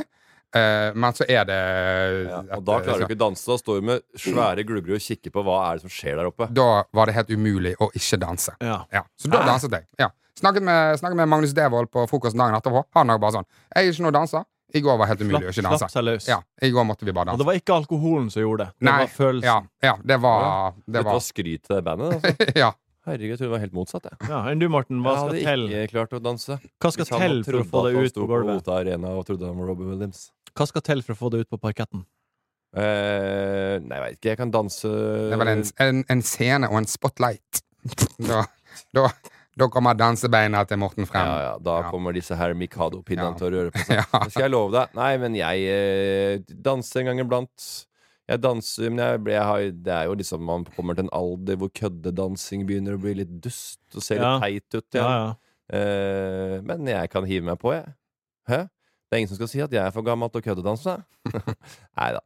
Speaker 4: eh, men så er det eh,
Speaker 5: Ja. Og da klarer du ikke å danse. Da står du med svære glugger og kikker på hva er det som skjer der oppe.
Speaker 4: Da var det helt umulig å ikke danse.
Speaker 2: ja.
Speaker 4: Ja, Så da danset jeg. Ja. Snakket, med, snakket med Magnus Devold på frokosten dagen etterpå. Han er bare sånn 'Jeg er ikke noe danser. I går var helt umulig å ikke
Speaker 2: Slapp, slapp
Speaker 4: danse.
Speaker 2: seg løs.
Speaker 4: Ja, I går måtte vi bare
Speaker 2: Og
Speaker 4: danse.
Speaker 2: det var ikke alkoholen som gjorde det. Det
Speaker 4: Nei,
Speaker 2: var følelsen.
Speaker 4: ja, ja, det
Speaker 5: Ja.
Speaker 4: var, det
Speaker 5: Dette var
Speaker 4: var
Speaker 5: skryt til det bandet. Altså.
Speaker 4: Ja.
Speaker 5: Herregud, jeg tror det var helt motsatt. Jeg,
Speaker 2: Ja, enn du, Morten, hva skal
Speaker 5: jeg
Speaker 2: til?
Speaker 5: hadde ikke klart å danse.
Speaker 2: Hva skal
Speaker 5: Hvis han
Speaker 2: til for å
Speaker 5: trodde
Speaker 2: få
Speaker 5: at
Speaker 2: det
Speaker 5: han
Speaker 2: ut
Speaker 5: sto
Speaker 2: på gulvet?
Speaker 5: Ota Arena og trodde han var Robbie Williams.
Speaker 2: Hva skal til for å få det ut på parketten?
Speaker 5: Eh, nei, jeg veit ikke. Jeg kan danse
Speaker 4: Det var en, en, en scene og en spotlight. Da, da, da kommer dansebeina til Morten frem.
Speaker 5: Ja, ja, da
Speaker 4: Ja.
Speaker 5: kommer disse her
Speaker 4: Ja.
Speaker 5: Mikado-pinnene til å røre på seg.
Speaker 4: Ja.
Speaker 5: Det skal jeg love deg. Nei, men jeg eh, danser en gang iblant. Jeg danser, men jeg, jeg har, det er jo liksom man kommer til en alder hvor køddedansing begynner å bli litt dust og ser
Speaker 2: Ja.
Speaker 5: litt teit ut.
Speaker 2: Ja,
Speaker 5: Ja.
Speaker 2: ja.
Speaker 5: Eh, men jeg kan hive meg på, jeg. Hæ? Det er ingen som skal si at jeg er for gammel til å køddedanse. Nei da.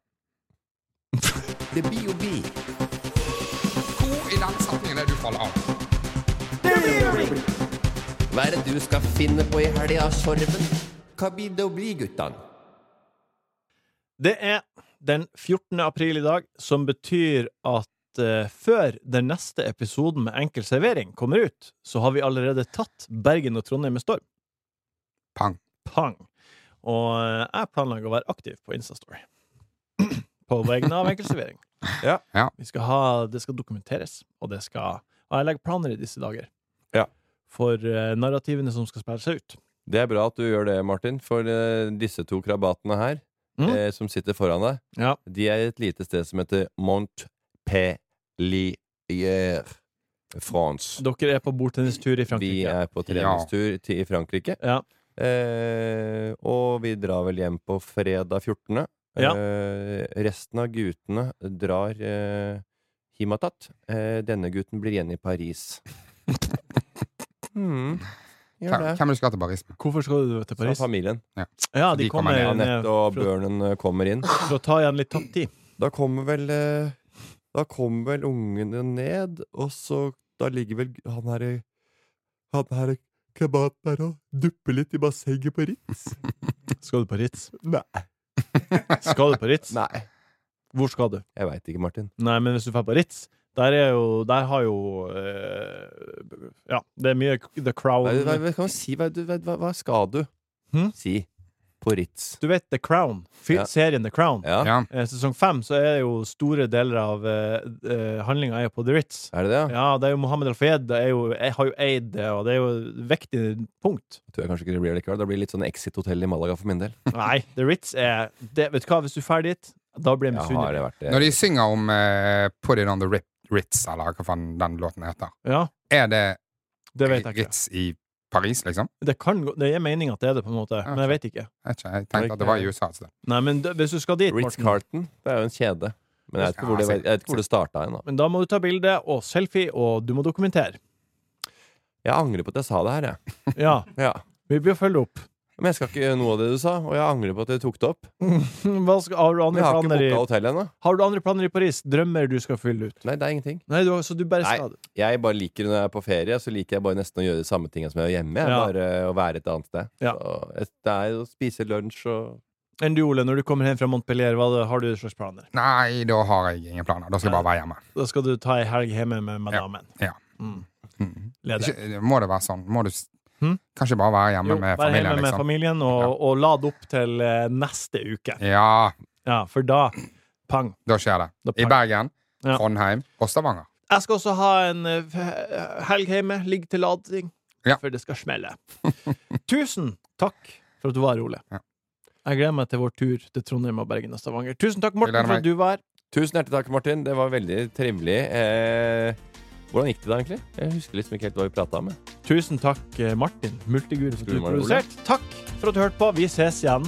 Speaker 3: Det blir jo vi.
Speaker 4: Hvor i den setningen er det du faller av?
Speaker 3: Hva er det du skal finne på i
Speaker 6: er
Speaker 3: helga, Sorven? Hva blir det å bli, guttan?
Speaker 2: Det er den 14. april i dag, som betyr at eh, før den neste episoden med Enkel servering kommer ut, så har vi allerede tatt Bergen og Trondheim med storm.
Speaker 4: Pang.
Speaker 2: Pang. Og eh, jeg planlegger å være aktiv på Instastory. på vegne av Enkel servering.
Speaker 5: Ja.
Speaker 4: Ja.
Speaker 2: Vi skal ha, det skal dokumenteres, og det skal Og jeg legger planer i disse dager.
Speaker 5: Ja.
Speaker 2: For eh, narrativene som skal spille seg ut.
Speaker 5: Det er bra at du gjør det, Martin, for eh, disse to krabatene her,
Speaker 2: Mm.
Speaker 5: eh, som sitter foran deg,
Speaker 2: Ja.
Speaker 5: de er i et lite sted som heter Montpellier, France.
Speaker 2: Dere er på bordtennistur i
Speaker 5: Vi
Speaker 2: Frankrike.
Speaker 5: er på treningstur til i Frankrike,
Speaker 2: Ja.
Speaker 5: eh, og vi drar vel hjem på fredag 14.
Speaker 2: Ja.
Speaker 5: Eh, resten av guttene drar eh, himatat. Eh, denne gutten blir igjen i Paris. mm. Gjør
Speaker 4: Hvem
Speaker 5: det.
Speaker 4: hvem er det du skal til Paris med?
Speaker 2: Hvorfor skal du til
Speaker 5: Fra
Speaker 2: Paris?
Speaker 5: familien.
Speaker 2: Ja,
Speaker 4: Så
Speaker 2: de,
Speaker 4: de
Speaker 2: kommer
Speaker 4: kommer ned.
Speaker 2: ned
Speaker 5: Anette og Børnen eh, kommer inn.
Speaker 2: for å ta igjen litt tapt tid.
Speaker 5: Da kommer vel eh, Da kommer vel ungene ned, og så Da ligger vel han her i- Han her i krabaten der og dupper litt i bassenget på Ritz.
Speaker 2: Skal du på Ritz?
Speaker 5: Nei.
Speaker 2: Skal du på Ritz?
Speaker 5: Nei.
Speaker 2: Hvor skal du?
Speaker 5: Jeg veit ikke, Martin.
Speaker 2: Nei, men hvis du drar på Ritz der, er jo, der har jo eh, Ja, det er mye The Crown
Speaker 5: Hva, hva, hva, kan man si, hva, du- hva, hva- hva skal du
Speaker 2: Hm?
Speaker 5: si på Ritz?
Speaker 2: Du vet The Crown? Fy-
Speaker 5: Ja.
Speaker 2: Serien The Crown.
Speaker 5: Ja.
Speaker 4: Ja.
Speaker 2: Eh, Sesong fem så er jo store deler av uh, handlinga er på The Ritz.
Speaker 5: Er det det? Ja?
Speaker 2: Ja, det er jo Mohammed Al-Fayed det er jo- jeg har jo eid det, og det er jo et viktig punkt.
Speaker 5: Tror jeg kanskje ikke det blir likevel. Det blir litt sånn Exit-hotell i Malaga for min del.
Speaker 2: Nei, The Ritz er det, Vet du hva, hvis du drar dit, da blir jeg
Speaker 5: Jeg har
Speaker 2: misunnelig.
Speaker 5: vært det.
Speaker 4: Når de synger om eh, Put it on the Rip- Ritz, eller hva faen den låten heter,
Speaker 2: Ja,
Speaker 4: er det
Speaker 2: det vet jeg ikke.
Speaker 4: Ritz i Paris, liksom?
Speaker 2: Det kan gå Det gir mening at det er det, på en måte,
Speaker 4: Ja,
Speaker 2: men jeg vet ikke.
Speaker 4: Jeg, vet ikke, jeg tenkte at det var i USA altså. et sted.
Speaker 2: Nei, men d- hvis du skal dit,
Speaker 5: Ritz
Speaker 2: Morten,
Speaker 5: Carlton, det er jo en kjede. Men jeg vet ikke hvor
Speaker 4: Ja,
Speaker 5: det, jeg vet ikke hvor det starta hen. da.
Speaker 2: men da må du ta bilde og selfie, og du må dokumentere.
Speaker 5: Jeg angrer på at jeg sa det her, jeg.
Speaker 2: Ja,
Speaker 5: Ja.
Speaker 2: vi blir å følge opp.
Speaker 5: Men jeg skal ikke gjøre noe av det du sa, og jeg angrer på at jeg tok det opp.
Speaker 2: Hva skal, har, du
Speaker 5: Men
Speaker 2: andre
Speaker 5: jeg har ikke
Speaker 2: planer i,
Speaker 5: booka hotell ennå.
Speaker 2: har du andre planer i Paris? Drømmer du skal fylle ut?
Speaker 5: Nei, det er ingenting.
Speaker 2: Nei, du, har- så du bare
Speaker 5: Nei.
Speaker 2: skal
Speaker 5: Jeg bare liker når jeg er på ferie, så liker jeg bare nesten å gjøre de samme tingene som jeg gjør hjemme. Jeg
Speaker 2: Ja.
Speaker 5: Bare å være et annet sted.
Speaker 2: Ja.
Speaker 5: Så, eh, det er jo å spise lunsj og
Speaker 2: Enn du, Ole, når du kommer hjem fra Montpellier, hva det- har du slags planer?
Speaker 4: Nei, da har jeg ingen planer. Da skal jeg bare være hjemme.
Speaker 2: Da skal du ta ei helg hjemme med madammen.
Speaker 4: Ja.
Speaker 2: Mm.
Speaker 4: Mm.
Speaker 2: Leder.
Speaker 4: Ikke, må det være sånn? Må du s-
Speaker 2: Hm?
Speaker 4: kanskje bare være hjemme
Speaker 2: Jo,
Speaker 4: med
Speaker 2: vær hjemme
Speaker 4: familien,
Speaker 2: med
Speaker 4: liksom?
Speaker 2: familien, og, og lad opp til eh, neste uke.
Speaker 4: Ja,
Speaker 2: Ja, for da Pang.
Speaker 4: da skjer det.
Speaker 2: Da
Speaker 4: I
Speaker 2: pakker-
Speaker 4: Bergen,
Speaker 2: Ja.
Speaker 4: Trondheim og Stavanger.
Speaker 2: Jeg skal også ha en eh, f- helg hjemme, ligge til lading,
Speaker 4: Ja.
Speaker 2: for det skal smelle. Tusen takk for at du var her, Ole.
Speaker 4: Ja.
Speaker 2: Jeg gleder meg til vår tur til Trondheim og Bergen og Stavanger. Tusen takk, Morten,
Speaker 4: gleder
Speaker 2: for at
Speaker 4: meg.
Speaker 2: du var her.
Speaker 5: Tusen hjertelig takk, Martin. Det var veldig trivelig. Eh, hvordan gikk det da, egentlig? Jeg husker liksom ikke helt hva vi prata om. jeg.
Speaker 2: Tusen takk, eh, Martin Multigur, for at du
Speaker 5: Skulle du være Ole?
Speaker 2: produserte. Takk for at du hørte på. Vi ses igjen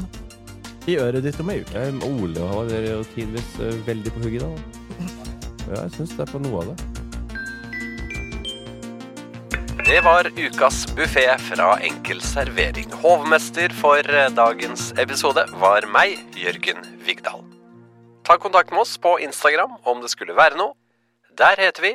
Speaker 2: i øret ditt om ei uke.
Speaker 5: Eh, Ole var dere jo tidvis eh, veldig på hugget, da. Ja, jeg syns det er på noe av det.
Speaker 6: Det var ukas buffé er fra Enkel servering. Hovmester for eh, dagens episode var meg, Jørgen Vigdal. Ta kontakt med oss på Instagram om det skulle være noe. Der heter vi